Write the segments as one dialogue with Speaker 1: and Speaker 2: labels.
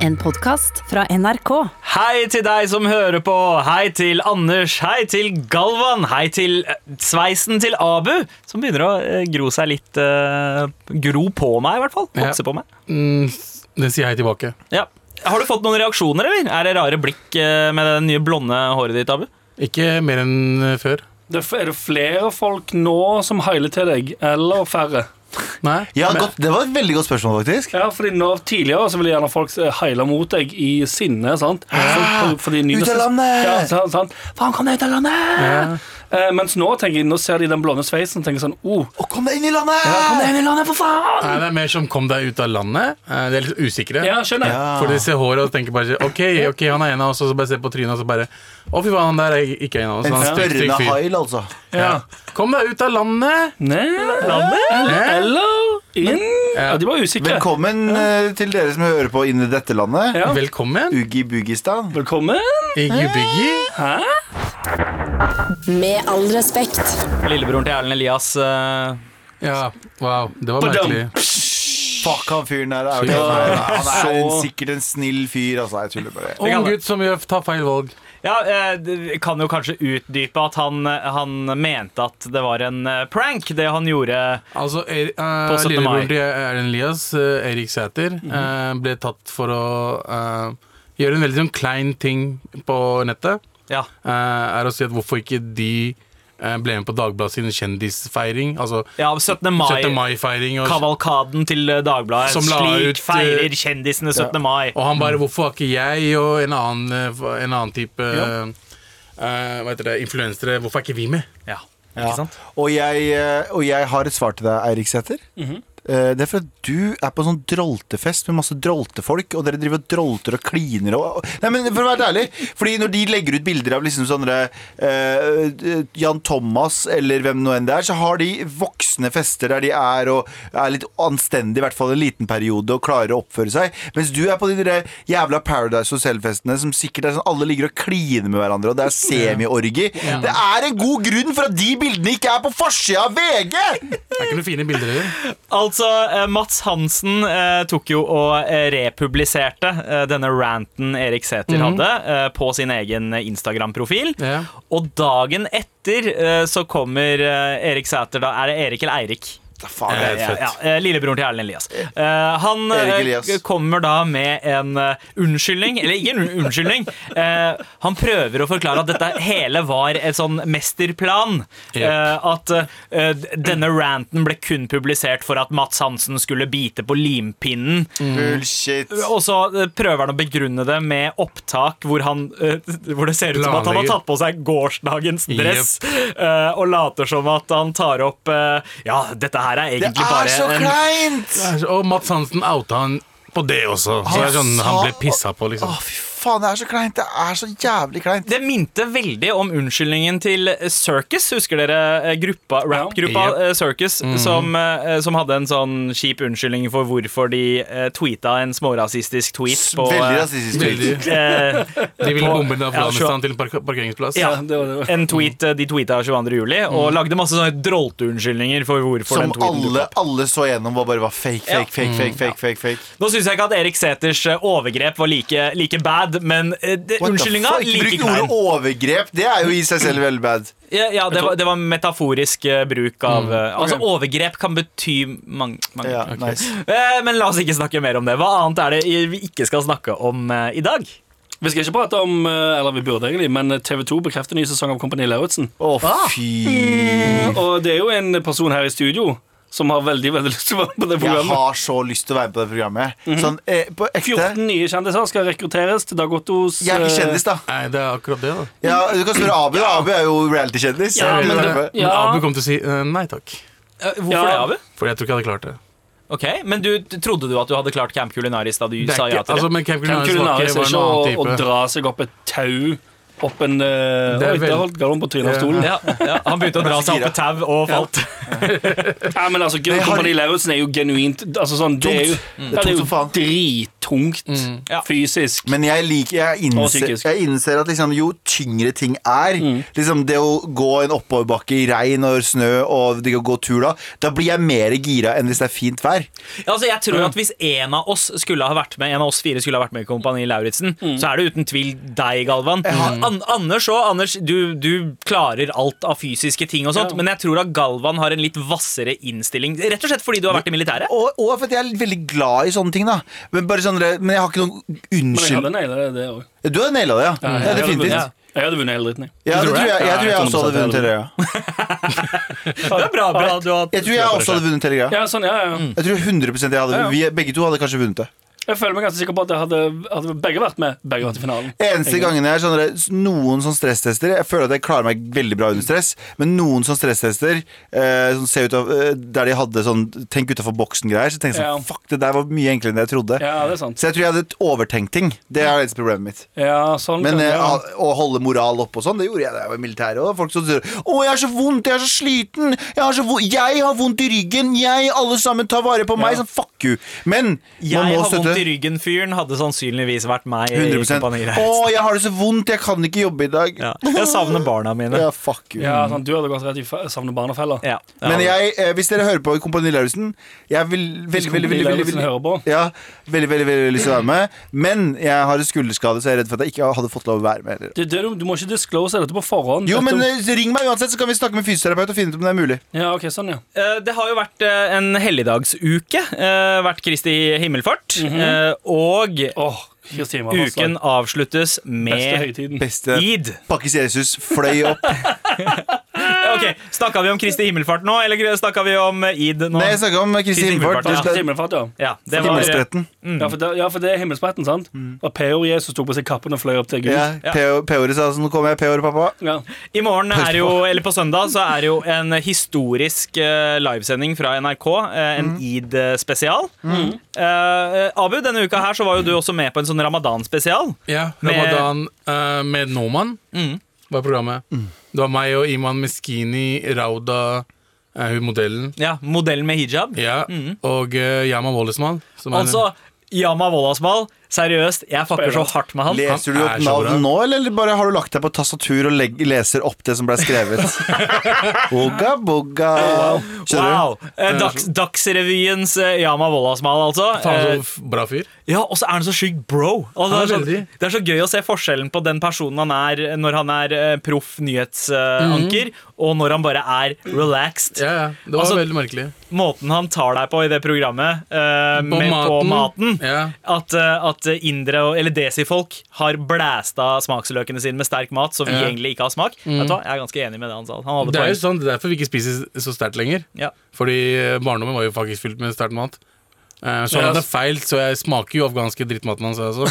Speaker 1: En podkast fra NRK.
Speaker 2: Hei til deg som hører på. Hei til Anders. Hei til Galvan. Hei til eh, sveisen til Abu, som begynner å eh, gro seg litt eh, Gro på meg, i hvert fall. Vokse
Speaker 3: Ja.
Speaker 2: på meg.
Speaker 3: Mm, det sier jeg tilbake.
Speaker 2: Ja. Har du fått noen reaksjoner, eller? Er det rare blikk eh, med det nye blonde håret ditt, Abu?
Speaker 3: Ikke mer enn eh, før.
Speaker 4: Det, er det flere folk nå som heiler til deg, eller færre?
Speaker 3: Nei.
Speaker 5: Ja,
Speaker 3: men,
Speaker 5: godt, Det var et veldig godt spørsmål, faktisk.
Speaker 4: Ja, fordi nå Tidligere så ville gjerne folk eh, heile mot deg i sinne. sant? Så- fordi ny-
Speaker 5: Ut av landet!
Speaker 4: Ja, så- sant? Faen, kom deg ut av landet! Eh, mens nå tenker jeg, nå ser de den blonde sveisen og tenker sånn oh,
Speaker 5: Å, kom deg inn i landet!
Speaker 4: Kom deg inn i landet, for faen!
Speaker 3: Nei, det er mer som kom deg ut av landet. Eh, De er litt usikre.
Speaker 4: Ja, skjønner jeg.
Speaker 5: Ja.
Speaker 3: For de ser håret og tenker bare OK, ok, han er en av oss, og så bare ser på trynet og så bare Å, fy faen, han der er ikke en av oss.
Speaker 5: En
Speaker 3: Han er en stygg
Speaker 5: spørrende
Speaker 3: fyr.
Speaker 5: hail, altså.
Speaker 3: Ja. Kom deg ut av landet! Eh?
Speaker 4: Nei, eller, eller inn ja, De var usikre.
Speaker 5: Velkommen eh, til dere som hører på inn i dette landet.
Speaker 4: Ja.
Speaker 3: Velkommen,
Speaker 5: Ugi Bugistan.
Speaker 4: Velkommen.
Speaker 3: Iggy Biggy.
Speaker 4: Hæ?
Speaker 1: Med all respekt.
Speaker 2: Lillebroren til Erlend Elias. eh,
Speaker 3: Ja, wow, det var
Speaker 4: Badam.
Speaker 3: merkelig.
Speaker 5: Fuck, han fyren der. Er jo ikke, han er en, sikkert en snill fyr. Altså, jeg tuller bare.
Speaker 3: Ung gutt som gjør tar feil valg.
Speaker 2: Ja, eh, d- kan jo kanskje utdype at han, eh, han mente at det var en eh, prank, det han gjorde.
Speaker 3: Altså, er, eh,
Speaker 2: På 17. mai. Mhm.
Speaker 3: Lillebroren til Erlend Elias, eh, Erik Sæter, eh, ble tatt for å eh, gjøre en veldig sånn klein ting på nettet.
Speaker 2: Ja.
Speaker 3: eh, er å si at hvorfor ikke de eh, ble med på Dagbladet sin kjendisfeiring. Altså
Speaker 2: Ja, 17.
Speaker 3: 17.
Speaker 2: mai.
Speaker 3: mai-feiring. Og,
Speaker 2: Kavalkaden til eh, Dagbladet.
Speaker 3: Som la
Speaker 2: Slik
Speaker 3: ut, eh,
Speaker 2: feirer kjendisene 17. mai.
Speaker 3: og han bare 'Hvorfor har ikke jeg og en annen, eh, f- en annen type eh, eh, Hva heter det, influensere Hvorfor er ikke vi med?
Speaker 2: Ja,
Speaker 5: Ja.
Speaker 2: ikke sant?
Speaker 5: Og, jeg, eh, og jeg har et svar til deg, Eirik Sæther. Eh, Det er for at du er på en sånn droltefest med masse droltefolk, og dere driver og drolter og kliner og og- Nei, men for å være ærlig, fordi når de legger ut bilder av liksom sånne eh, Jan Thomas eller hvem nå enn det er, så har de voksne fester der de er og er litt anstendige, i hvert fall en liten periode, og klarer å oppføre seg. Mens du er på de der jævla Paradise Hotel-festene som sikkert er sånn alle ligger og kliner med hverandre, og det er semi-orgi. Det er en god grunn for at de bildene ikke er på forsida av VG!
Speaker 3: Det er ikke noen fine bilder heller.
Speaker 2: Altså, eh, Mats Hansen eh, tok jo og eh, republiserte eh, denne ranten Erik Sæther hadde, eh, på sin egen Instagram-profil.
Speaker 3: Mhm. Ja.
Speaker 2: Og dagen etter eh, så kommer eh, Erik Sæther, da er det Erik eller Eirik?
Speaker 5: Faen,
Speaker 3: det er
Speaker 2: Ja,
Speaker 3: fett.
Speaker 2: ja, eh, lillebroren til Erlend Elias. Eh, han eh,
Speaker 5: Erik Elias.
Speaker 2: kommer da med en eh, unnskyldning, eller ikke en un- unnskyldning. Eh, han prøver å forklare at dette hele var et sånn mesterplan.
Speaker 3: Yep.
Speaker 2: Eh, at eh, d- denne ranten ble kun publisert for at Mats Hansen skulle bite på limpinnen.
Speaker 5: Bullshit.
Speaker 2: Og så eh, prøver han å begrunne det med opptak hvor, han, eh, hvor det ser ut som at han har
Speaker 3: Planlegger.
Speaker 2: tatt på seg gårsdagens dress eh, og later som at han tar opp eh, Ja, dette her er
Speaker 5: Det
Speaker 2: egentlig
Speaker 5: er
Speaker 2: bare
Speaker 5: så
Speaker 2: en
Speaker 5: kleint!
Speaker 3: Det er så- Og Mats Hansen outa han på det også. Så det er sånn, han ble pissa på, liksom.
Speaker 5: Å, fy faen, det er så kleint. Det er så jævlig kleint.
Speaker 2: Det minte veldig om unnskyldningen til Circus. Husker dere eh, gruppa, rap-gruppa
Speaker 3: Ja.
Speaker 2: eh, Circus,
Speaker 5: Mhm.
Speaker 2: som, eh, som hadde en sånn kjip unnskyldning for hvorfor de eh, tweeta en smårasistisk tweet på
Speaker 5: Veldig
Speaker 2: eh,
Speaker 5: rasistisk.
Speaker 3: Veldig.
Speaker 2: eh,
Speaker 3: De ville
Speaker 2: På-
Speaker 3: bombe den
Speaker 2: ja, sure.
Speaker 3: Afghanistan til en park parkeringsplass.
Speaker 2: ja,
Speaker 4: Ja, det var det.
Speaker 2: en tweet eh, de tweeta 22. juli, og lagde masse sånne drolteunnskyldninger for hvorfor
Speaker 5: Som
Speaker 2: den tweeten dukket
Speaker 5: alle,
Speaker 2: opp.
Speaker 5: alle så gjennom var bare var fake,
Speaker 2: Ja.
Speaker 5: fake, fake, fake, fake, fake, fake.
Speaker 2: Nå syns jeg ikke at Erik Sæthers eh, overgrep var like, like bad, men eh, det-
Speaker 5: What the
Speaker 2: unnskyldninga
Speaker 5: fuck?
Speaker 2: like
Speaker 5: Bruk
Speaker 2: klein.
Speaker 5: ordet overgrep. Det er jo i seg selv veldig bad.
Speaker 2: Ja, ja det, var, det var metaforisk eh, bruk av
Speaker 3: Mm.
Speaker 2: eh, Altså, overgrep kan bety mange, mange
Speaker 5: Ja, nice.
Speaker 2: Eh, Men la oss ikke snakke mer om det. Hva annet er det i- vi ikke skal snakke om eh, i dag?
Speaker 4: Vi skal ikke prate om eh, Eller vi burde egentlig, men TV 2 bekrefter ny sesong av Kompani Lauritzen.
Speaker 5: Å, fy.
Speaker 4: Og det er jo en person her i studio som har veldig veldig lyst til å være med på det
Speaker 5: Jeg
Speaker 4: programmet.
Speaker 5: har så lyst til å være med på det programmet. Sånn, eh, på
Speaker 4: 14
Speaker 5: ekte.
Speaker 4: nye kjendiser skal rekrutteres til eh, Dag Ottos
Speaker 5: Jeg er ikke kjendis, da.
Speaker 3: Nei, det er akkurat det, da.
Speaker 5: Ja, du kan spørre Abu. da. Abu er jo reality-kjendis.
Speaker 4: Ja,
Speaker 5: Jeg
Speaker 3: men,
Speaker 5: vet
Speaker 4: det-
Speaker 5: det.
Speaker 3: men
Speaker 4: ja.
Speaker 3: Abu kom til å si eh, nei takk.
Speaker 2: Eh, Hvorfor
Speaker 4: Ja.
Speaker 2: det, Abu?
Speaker 3: Fordi jeg tror ikke jeg hadde klart det.
Speaker 2: Ok, Men du, trodde du at du hadde klart Camp Culinaris da du
Speaker 3: det
Speaker 2: sa
Speaker 3: er
Speaker 2: ja
Speaker 3: ikke,
Speaker 2: til
Speaker 3: altså,
Speaker 2: det?
Speaker 3: men Camp
Speaker 4: Hvem
Speaker 3: Culinaris
Speaker 4: kunne
Speaker 3: var
Speaker 4: Aris
Speaker 3: ikke var
Speaker 4: ikke
Speaker 3: en
Speaker 4: å,
Speaker 3: annen
Speaker 4: å
Speaker 3: type.
Speaker 4: dra seg opp et tau opp en eh,
Speaker 3: Det er
Speaker 4: Oi,
Speaker 3: vel-
Speaker 4: der holdt Galvan på trynet av stolen.
Speaker 2: Ja, ja, han begynte å dra seg opp et tau og falt.
Speaker 4: Ja, men altså, Gud,
Speaker 5: har-
Speaker 4: Kompani Lauritzen er jo genuint altså, sånn, Det er jo,
Speaker 5: Tungt.
Speaker 4: ja, det er
Speaker 5: tungt
Speaker 4: jo
Speaker 5: som faen.
Speaker 4: tungt
Speaker 3: Mm.
Speaker 2: Ja.
Speaker 4: fysisk.
Speaker 5: Men jeg, liker, jeg,
Speaker 4: Og
Speaker 5: innser,
Speaker 4: psykisk.
Speaker 5: jeg innser at liksom, jo tyngre ting er liksom Det å gå en oppoverbakke i regn og snø og det å gå tur da, da blir jeg mer gira enn hvis det er fint vær.
Speaker 2: Altså, jeg tror at Hvis en av oss skulle ha vært med En av oss fire skulle ha vært med i Kompani Lauritzen, så er det uten tvil deg, Galvan. An Anders òg. Anders, du, du klarer alt av fysiske ting, og sånt
Speaker 4: Ja.
Speaker 2: men jeg tror at Galvan har en litt hvassere innstilling. Rett og slett fordi du har vært i militæret.
Speaker 5: Og, og for at jeg er veldig glad i sånne ting, da. Men, bare sånn, men jeg har ikke noen
Speaker 4: Men jeg
Speaker 5: unnskyld.
Speaker 4: hadde naila det, det òg.
Speaker 5: Du hadde naila det, ja. ja,
Speaker 4: Jeg hadde
Speaker 5: definitivt.
Speaker 4: vunnet- Jeg hadde vunnet hele dritten, jeg.
Speaker 5: Ja, det tror jeg, jeg, tror jeg også hadde vunnet hele greia.
Speaker 2: Det er bra, bra du har
Speaker 5: Jeg tror jeg også hadde vunnet hele greia.
Speaker 4: Ja, sånn, ja, ja.
Speaker 5: Jeg tror 100 jeg hadde
Speaker 4: Ja, ja.
Speaker 5: vi, Begge to hadde kanskje vunnet det.
Speaker 4: Jeg føler meg ganske sikker på at jeg hadde, hadde begge vært med. Begge vært i finalen.
Speaker 5: Eneste gangen jeg er sånn der, noen sånn stresstester Jeg føler at jeg klarer meg veldig bra under stress Men noen sånn stresstester eh, som ser ut av, eh, Der de hadde sånn Tenk utenfor boksen greier Så tenkte jeg
Speaker 4: Ja.
Speaker 5: sånn, fuck det der var mye enklere enn jeg trodde
Speaker 4: Ja, det er sant.
Speaker 5: Så jeg tror jeg hadde overtenkt ting Det er det eneste problemet mitt
Speaker 4: Ja, sånn
Speaker 5: Men
Speaker 4: kan-
Speaker 5: eh,
Speaker 4: ja.
Speaker 5: å å holde moral opp og sånn Det gjorde jeg da jeg var i militæret og Folk som sier Å jeg er så vondt, jeg er så sliten Jeg har, så vo jeg har vondt i ryggen Jeg, alle sammen, tar vare på meg
Speaker 4: Ja.
Speaker 5: Sånn, fuck you Men man
Speaker 2: Jeg
Speaker 5: må
Speaker 2: har
Speaker 5: støtte
Speaker 2: vondt i ryggen-fyren hadde sannsynligvis vært meg. i
Speaker 5: 100%
Speaker 2: Kompani
Speaker 5: Å
Speaker 2: Lauritzen.
Speaker 5: jeg har det så vondt, jeg kan ikke jobbe i dag
Speaker 2: Ja. Jeg savner barna mine.
Speaker 5: Ja, fuck you.
Speaker 4: ja, sånn, du hadde gått rett i fe- savne barnefella.
Speaker 2: Ja.
Speaker 5: Men jeg, eh, hvis dere hører på i Kompani Lauritzen Jeg vil veldig, veldig, veldig, veldig, veldig,
Speaker 4: hører på.
Speaker 5: ja, veldig, veldig, veldig lyst til å være med. Men jeg har en skulderskade, så jeg er redd for at jeg ikke hadde fått lov å være med. heller.
Speaker 4: Det, det, du, du må ikke disclose dette på forhånd.
Speaker 5: Jo,
Speaker 4: Dette-
Speaker 5: men eh, Ring meg uansett, så kan vi snakke med fysioterapeut og finne ut om det er mulig.
Speaker 4: Ja, ok, sånn, ja.
Speaker 2: Eh, Det har jo vært eh, en helligdagsuke. eh, Vært Kristi himmelfart. eh, Og
Speaker 4: Åh, Kristi Himmelfartsdag.
Speaker 2: uken avsluttes
Speaker 4: Beste
Speaker 2: med
Speaker 4: høytiden.
Speaker 5: Beste
Speaker 2: id.
Speaker 5: pakkes Jesus fløy opp.
Speaker 2: Ok, Snakka vi om Kristi himmelfart nå, eller snakka vi om eh, id nå?
Speaker 5: Nei, jeg snakka om Kristi
Speaker 2: Kristi
Speaker 5: himmelfart.
Speaker 2: himmelfart,
Speaker 4: Kristi
Speaker 5: Det-
Speaker 4: Himmelfart, ja.
Speaker 2: ja, det var,
Speaker 5: Himmelspretten.
Speaker 2: Mm.
Speaker 4: Ja, for det, ja, for det er himmelspretten, sant? Og P.O. Jesus tok på seg kappen og fløy opp til Gud.
Speaker 5: Mm. Ja, P- P-ordet sa sånn, nå kommer jeg, P-ordet, pappa.
Speaker 4: Ja.
Speaker 2: I morgen er jo, eller på søndag så er det jo en historisk eh, livesending fra NRK. eh,
Speaker 5: Mm.
Speaker 2: en id-spesial. Eh, Abu, denne uka her så var jo du også med på en sånn ramadan-spesial.
Speaker 3: Ja,
Speaker 2: Med- Mm.
Speaker 3: Ramadan eh, med Noman var programmet. Det var meg og Iman Meskini, Rauda, eh, hun modellen,
Speaker 2: Ja, Modell med hijab.
Speaker 3: ja, og eh, Yama Wollesman. som er en-
Speaker 2: Mm. Altså, Yama Wolasmal, seriøst, jeg fucker så hardt med han.
Speaker 5: Leser du opp
Speaker 3: er så bra.
Speaker 5: navn nå, eller bare har du lagt deg på tastatur og legg- leser opp det som ble skrevet? Boga, boga. Skjønner du?
Speaker 2: Wow! Eh, Dags, Dagsrevyens eh, Yama Wolasmal, altså.
Speaker 3: Faen,
Speaker 2: Eh,
Speaker 3: så f- bra fyr.
Speaker 2: Ja, Og så er han så sykt bro. Altså, det,
Speaker 3: Han
Speaker 2: er
Speaker 3: er
Speaker 2: så,
Speaker 3: veldig.
Speaker 2: det er så gøy å se forskjellen på den personen han er når han er eh, proff nyhetsanker, og når han bare er relaxed.
Speaker 3: Mhm. Ja, ja. Det var
Speaker 2: Altså,
Speaker 3: veldig merkelig.
Speaker 2: Måten han tar deg på i det programmet, eh,
Speaker 3: På
Speaker 2: med, på maten
Speaker 3: Ja.
Speaker 2: At, eh, at indre, og- eller desifolk, har blæsta smaksløkene sine med sterk mat som vi
Speaker 3: Ja. Mhm.
Speaker 2: egentlig ikke har smak. Vet du hva? Jeg er ganske enig med det han sa. Han hadde
Speaker 3: Det er
Speaker 2: poeng.
Speaker 3: jo sånn, det er derfor vi ikke spiser så sterkt lenger.
Speaker 2: Ja.
Speaker 3: Fordi eh, barndommen var jo faktisk fylt med sterk mat. Eh, Så
Speaker 4: Ja,
Speaker 3: han hadde
Speaker 4: ass.
Speaker 3: feil, så jeg smaker jo afghanske drittmaten hans. Altså.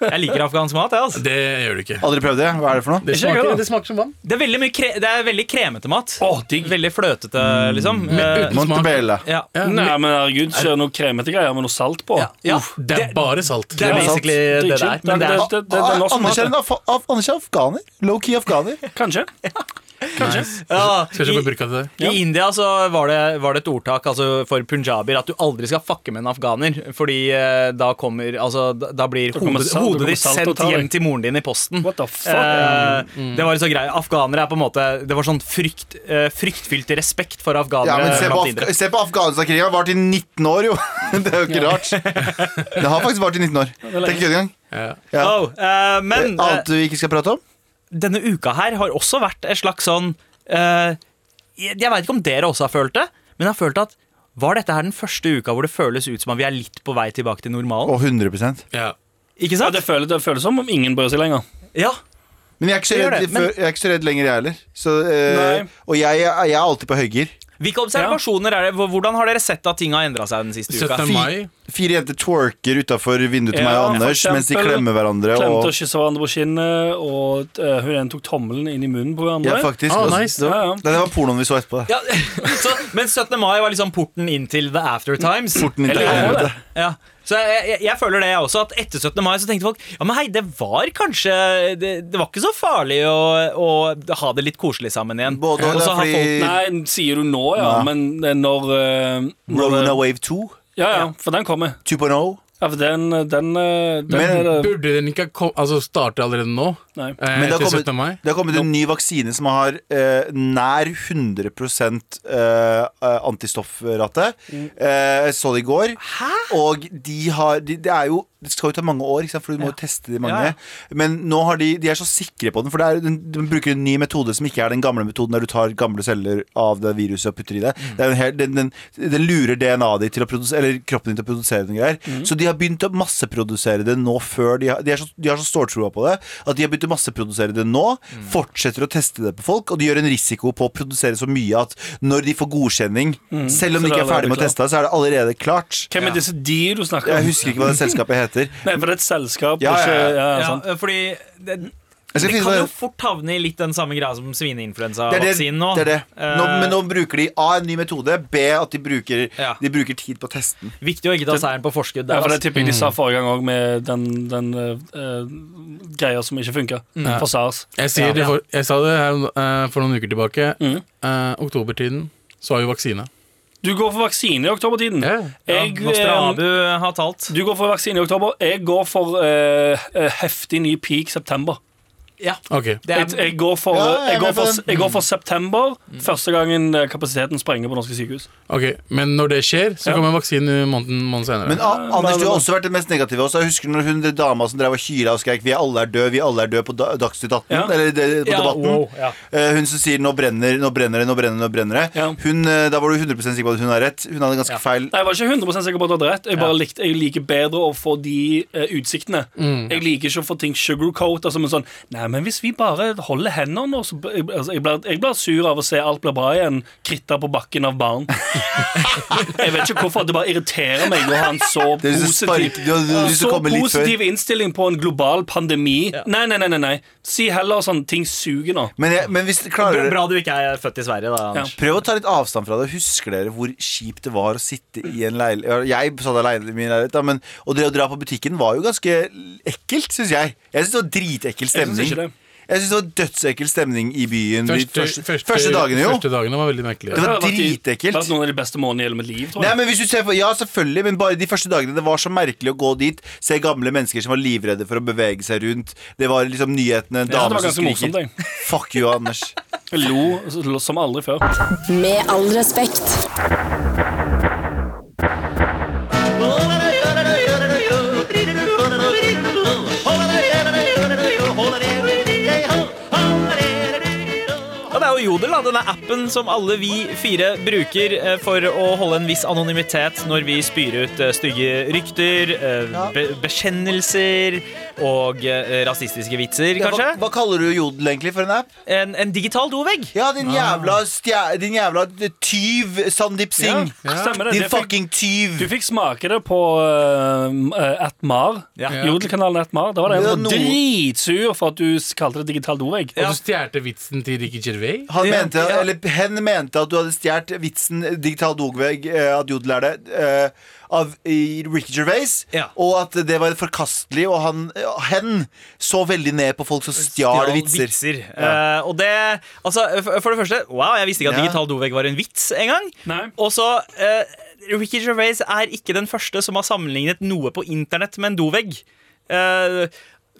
Speaker 2: Jeg liker afghansk mat. Jeg, altså.
Speaker 3: Det gjør du ikke.
Speaker 5: Aldri prøvd det? Hva er det for noe?
Speaker 3: Det
Speaker 4: Ikke jeg
Speaker 3: smaker,
Speaker 4: heller.
Speaker 3: det smaker som vann.
Speaker 2: Det er veldig, mye kre det er veldig kremete mat.
Speaker 4: Åh, digg.
Speaker 2: Veldig fløtete, liksom. Eh,
Speaker 3: Mm. uten-
Speaker 5: Montebella.
Speaker 2: ja.
Speaker 3: Ja,
Speaker 4: Nei, men herregud, så er det noe kremete greier med noe salt på.
Speaker 2: Ja. ja.
Speaker 3: Uff, det er bare salt.
Speaker 2: Det er
Speaker 5: sant.
Speaker 2: basically det
Speaker 4: Det er
Speaker 2: det
Speaker 4: chill.
Speaker 2: er. Men det er
Speaker 4: Det- det er norsk mat,
Speaker 5: Anders er, en
Speaker 4: det.
Speaker 5: Ah, af af Anders er afghaner. Low-key afghaner.
Speaker 4: Kanskje. Kanskje.
Speaker 2: ja,
Speaker 3: Skal jeg kjøpe
Speaker 2: i,
Speaker 3: burka til deg?
Speaker 2: I India så var det, var det et ordtak altså for punjabier at du aldri skal fucke med en afghaner. Fordi eh, da kommer Altså, da da blir
Speaker 4: kommer
Speaker 2: hodet,
Speaker 4: salt-
Speaker 2: hodet
Speaker 4: det
Speaker 2: ditt
Speaker 4: kommer salt og
Speaker 2: sendt
Speaker 4: tar deg.
Speaker 2: hjem til moren din i posten.
Speaker 4: What the fuck? Mm.
Speaker 2: Eh, Det var så grei. Afghanere er på en måte Det var sånn frykt, eh, fryktfylt respekt for afghanere.
Speaker 5: Ja, men se på,
Speaker 2: blant
Speaker 5: Afga
Speaker 2: indere.
Speaker 5: se på Afghanistan-krigen. Vart i 19 år, jo. Det er jo ikke rart. Det har faktisk vart i 19 år. Tenk ikke engang.
Speaker 3: Ja.
Speaker 5: Ja.
Speaker 2: Oh, eh, men eh,
Speaker 5: Annet vi ikke skal prate om?
Speaker 2: denne uka her har også vært et slags sånn eh, Jeg jeg vet ikke om dere også har følt det, men jeg har følt at var dette her den første uka hvor det føles ut som at vi er litt på vei tilbake til normalen?
Speaker 5: Å, 100
Speaker 3: Ja.
Speaker 2: Ikke
Speaker 4: Ja,
Speaker 2: sant?
Speaker 4: det, føles, det føles som om ingen bryr seg lenger.
Speaker 2: Ja.
Speaker 5: Men jeg er ikke så
Speaker 2: Det gjør
Speaker 5: redd,
Speaker 2: det, men-
Speaker 5: før- jeg er ikke så redd lenger, jeg heller. Så, eh,
Speaker 4: Nei.
Speaker 5: og jeg, jeg er alltid på høygir.
Speaker 2: Hvilke observasjoner er det? Hvor- Hvordan har dere sett at ting har endra seg den siste uka?
Speaker 3: 17. mai.
Speaker 5: Fire jenter twerker utafor vinduet til
Speaker 4: Ja,
Speaker 5: meg og
Speaker 4: for
Speaker 5: Anders
Speaker 4: eksempel.
Speaker 5: mens de klemmer hverandre.
Speaker 4: Klemte
Speaker 5: Og,
Speaker 4: og kyssa hverandre på kinnet, og eh, hun ene tok tommelen inn i munnen på hverandre.
Speaker 5: ja, faktisk.
Speaker 3: Ah,
Speaker 5: Og-
Speaker 3: nice.
Speaker 4: Ja, ja.
Speaker 5: Nei, det var pornoen vi så etterpå.
Speaker 2: Ja, så, men 17. mai var liksom porten inn til the after times.
Speaker 5: Porten inn til
Speaker 4: Eller-
Speaker 5: helvete.
Speaker 2: Ja. Så jeg, jeg, jeg føler det, jeg også. At etter 17. mai så tenkte folk Ja, men hei, det var kanskje Det, det var ikke så farlig å, å ha det litt koselig sammen igjen.
Speaker 5: Både og,
Speaker 2: og
Speaker 5: det
Speaker 2: så
Speaker 5: er
Speaker 2: har folk
Speaker 5: fordi
Speaker 4: Nei, sier du nå, ja,
Speaker 5: Nei.
Speaker 4: men det er når, eh, når
Speaker 5: Rona Wave 2,
Speaker 4: Ja, ja, for den kommer.
Speaker 5: 2.0,
Speaker 4: Ja, Ja, for den, den, eh, den
Speaker 5: Men-
Speaker 4: er, det-
Speaker 3: Burde den ikke ha kom, altså starte allerede nå?
Speaker 4: Nei.
Speaker 3: Eh,
Speaker 5: Men det har
Speaker 3: etter
Speaker 5: kommet,
Speaker 3: 17. mai?
Speaker 5: det har kommet en ny vaksine som har eh, nær 100 eh, antistoffrate. Eh, jeg så det i går. Og de har de, Det er jo Det skal jo ta mange år, ikke sant? for du må jo teste de mange.
Speaker 2: Ja.
Speaker 5: Men nå har de, de er så sikre på den, for det er, den, de bruker en ny metode som ikke er den gamle metoden der du tar gamle celler av det viruset og putter i det. det er jo en hel, den, den, den lurer DNA-et ditt til å produsere Eller kroppen din til å produsere den greier. Så de har begynt å masseprodusere det nå før de har, de, er så, de har så ståltroa på det at de har begynt å masseprodusere det nå. Fortsetter å teste det på folk, og de gjør en risiko på å produsere så mye at når de får godkjenning, selv
Speaker 4: Så
Speaker 5: om de
Speaker 4: det er
Speaker 5: ikke er ferdig med å
Speaker 4: allerede
Speaker 5: teste det, så er det allerede klart.
Speaker 4: Hvem er disse de du snakker
Speaker 5: Jeg
Speaker 4: om?
Speaker 5: husker ikke hva det selskapet heter.
Speaker 4: Nei, for det er et selskap.
Speaker 5: Ja, ja,
Speaker 4: ikke,
Speaker 5: ja.
Speaker 4: ja,
Speaker 2: Ja,
Speaker 4: sant.
Speaker 2: fordi det,
Speaker 5: Jeg skal
Speaker 2: det kan
Speaker 5: finne ut hva-
Speaker 2: jo fort havne i litt den samme greia som
Speaker 5: Det er det.
Speaker 2: svineinfluensavaksinen nå.
Speaker 5: det, er det. Nå,
Speaker 2: Eh,
Speaker 5: men nå bruker de A, en ny metode, B, at de bruker,
Speaker 2: Ja.
Speaker 5: de bruker tid på testen.
Speaker 2: Viktig å ikke ta seieren på forskudd.
Speaker 4: Ja,
Speaker 2: Der,
Speaker 4: for det
Speaker 2: altså.
Speaker 4: tipper jeg de
Speaker 5: Mm.
Speaker 4: sa forrige gang òg, med den, den eh, eh, greia som ikke funka. For SARS.
Speaker 3: Jeg, sier det for, jeg sa det her eh, for noen uker tilbake.
Speaker 4: Mm.
Speaker 3: Eh, oktobertiden så har jo vaksine.
Speaker 4: Du går for vaksine i oktobertiden.
Speaker 2: Ja,
Speaker 4: Jeg, eh,
Speaker 2: Nostradabu har talt.
Speaker 4: du går for vaksine i oktober. Jeg går for eh, eh, heftig ny peak september.
Speaker 2: Ja,
Speaker 3: Ok.
Speaker 2: det
Speaker 4: Jeg,
Speaker 2: er, Mm.
Speaker 4: jeg, går for, eh,
Speaker 5: Ja, jeg er
Speaker 4: jeg, går
Speaker 5: med på
Speaker 4: for,
Speaker 5: den.
Speaker 4: jeg går for september, første gangen eh, kapasiteten sprenger på norske sykehus.
Speaker 3: ok, Men når det skjer, så
Speaker 4: Ja.
Speaker 3: kommer vaksinen måneden, måneden senere.
Speaker 5: Men A, Anders, du har også vært den mest negative. Også. Jeg husker når hun den dama som drev og hyla og skreik 'Vi alle er døde, vi alle er døde' på da, Dagsnytt 18.
Speaker 4: Ja.
Speaker 5: Eller det- på
Speaker 2: Ja,
Speaker 5: Debatten.
Speaker 2: wow, ja.
Speaker 5: Eh, hun som sier 'Nå brenner, nå brenner det, nå brenner det'. nå brenner det
Speaker 4: Ja.
Speaker 5: hun, eh, Da var du 100 sikker på at hun har rett. Hun hadde
Speaker 2: Ja.
Speaker 5: ganske feil.
Speaker 4: Nei, Jeg var ikke 100 sikker på at du hadde rett. Jeg bare likte, jeg liker bedre å få de eh, utsiktene.
Speaker 2: Mm.
Speaker 4: Jeg liker ikke å få ting sugarcoat. Altså, men sånn, nei, men hvis vi bare holder hendene nå så, b- jeg- altså, jeg, blir, jeg blir sur av å se alt blir bra igjen. Kritta på bakken av barn. jeg vet ikke hvorfor. Det bare irriterer meg å ha en så
Speaker 5: Det er lyst til å
Speaker 4: positiv
Speaker 5: sparke- du har lyst til å
Speaker 4: så
Speaker 5: komme litt før.
Speaker 4: positiv innstilling på en global pandemi. Nei, nei, nei, nei, nei. Si heller sånn ting suger nå.
Speaker 5: Men, jeg, men hvis dere klarer
Speaker 2: bra du ikke er født i Sverige, da. Anders.
Speaker 5: Prøv å ta litt avstand fra det. Husker dere hvor kjipt det var å sitte i en leilighet Jeg satt alene i min leilighet, da, men og det å dra på butikken var jo ganske ekkelt, syns jeg. Jeg syns det var dritekkel
Speaker 4: Jeg synes
Speaker 5: stemning.
Speaker 4: ikke det.
Speaker 5: Jeg syns det var dødsekkel stemning i byen de
Speaker 3: Første,
Speaker 5: første, første, dagene, jo.
Speaker 3: Første dagene var veldig merkelige.
Speaker 5: Det var
Speaker 4: har vært i-
Speaker 5: dritekkelt.
Speaker 4: vært noen av de beste månedene i hele mitt liv. Tror jeg.
Speaker 5: Nei, men hvis du ser for, Ja, selvfølgelig, men bare de første dagene. Det var så merkelig å gå dit, se gamle mennesker som var livredde for å bevege seg rundt. Det var liksom nyhetene, en
Speaker 4: Jeg synes
Speaker 5: dame
Speaker 4: det var
Speaker 5: som
Speaker 4: ganske
Speaker 5: skriker.
Speaker 4: morsomt,
Speaker 5: Fuck you, Anders.
Speaker 4: Jeg lo lo som aldri før.
Speaker 1: Med all respekt.
Speaker 2: Ja, det er jo Jodel, da. Denne appen som alle vi fire bruker eh, for å holde en viss anonymitet når vi spyr ut eh, stygge rykter, eh, be bekjennelser og eh, rasistiske vitser,
Speaker 5: Ja, hva,
Speaker 2: kanskje.
Speaker 5: hva kaller du Jodel egentlig for en app?
Speaker 2: En, en digital dovegg.
Speaker 5: Ja, din jævla, stjæ, din jævla tyv, Sandeep Singh.
Speaker 4: Stemmer det.
Speaker 5: Din
Speaker 4: det fikk,
Speaker 5: fucking tyv.
Speaker 4: du fikk smake det på uh, Atmar.
Speaker 2: Ja.
Speaker 4: Jodelkanalen Atmar. Da var det en
Speaker 5: Det er
Speaker 4: som var
Speaker 5: noe-
Speaker 4: dritsur for at du s- kalte det digital dovegg.
Speaker 3: Og du stjal vitsen til Ricky Gervais?
Speaker 5: Han
Speaker 2: Ja,
Speaker 5: mente,
Speaker 2: ja.
Speaker 5: eller, hen mente at du hadde stjålet vitsen Digital Dogvegg, eh, at Jodel er det, eh, av i Ricky Gervais,
Speaker 2: Ja.
Speaker 5: og at det var forkastelig, og han, eh, hen så veldig ned på folk som stjal vitser.
Speaker 2: Eh, og det Altså, for, for det første, wow, jeg visste ikke at
Speaker 5: Ja.
Speaker 2: digital dovegg var en vits engang.
Speaker 4: Nei.
Speaker 2: Og så eh, Ricky Gervais er ikke den første som har sammenlignet noe på internett med en dovegg. Eh,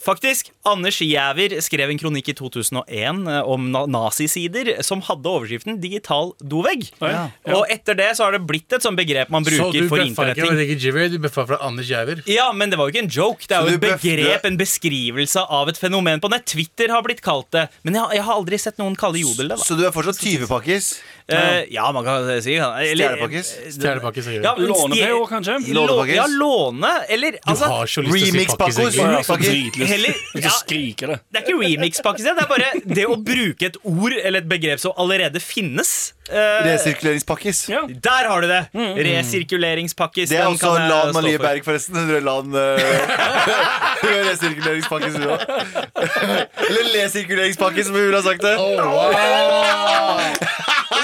Speaker 2: faktisk, Anders Giæver skrev en kronikk i 2001 eh, om na nazisider som hadde overskriften 'digital dovegg'.
Speaker 4: Ja.
Speaker 2: Og etter det så har det blitt et sånt begrep man
Speaker 3: Så du
Speaker 2: bruker for
Speaker 3: bøffa ikke fra
Speaker 2: internetting.
Speaker 3: Ricky Gervais, du bøffa fra Anders Jæver.
Speaker 2: Ja, men det var jo ikke en joke. Det er
Speaker 5: Så
Speaker 2: jo et
Speaker 5: du bøfte-
Speaker 2: begrep, en beskrivelse av et fenomen på nett. Twitter har blitt kalt det, men jeg, jeg har aldri sett noen kalle jodel det. da
Speaker 5: Så du er fortsatt tyvepakkis?
Speaker 2: Eh, ja, man kan si eller- eh,
Speaker 5: Stjernepakkis?
Speaker 3: Stjernepakke, sier du.
Speaker 2: Ja, men
Speaker 4: Låne
Speaker 2: stje-
Speaker 4: PH, kanskje?
Speaker 5: Lånepakkis?
Speaker 2: Ja, låne. Eller
Speaker 3: Du
Speaker 2: altså
Speaker 3: har så lyst til å si pakkis,
Speaker 5: remix-pakkos.
Speaker 3: egentlig.
Speaker 4: Ja, så altså
Speaker 5: Pakkis.
Speaker 4: dritlyst.
Speaker 2: Heller-
Speaker 4: Jeg
Speaker 2: ja.
Speaker 4: skal skrike det.
Speaker 2: det er ikke remix-pakke, det er bare det å bruke et ord eller et begrep som allerede finnes. Eh,
Speaker 5: Resirkuleringspakkis.
Speaker 4: Ja.
Speaker 2: der har du det! Resirkuleringspakkis.
Speaker 5: Det er
Speaker 2: den
Speaker 5: også
Speaker 2: kan jeg stå
Speaker 5: Lan Marie
Speaker 2: for.
Speaker 5: Berg, forresten. Hun er Lan eh, Hun er resirkuleringspakkis, hun òg. Eller lesirkuleringspakkis, som hun ville ha sagt det.
Speaker 3: Oh, wow.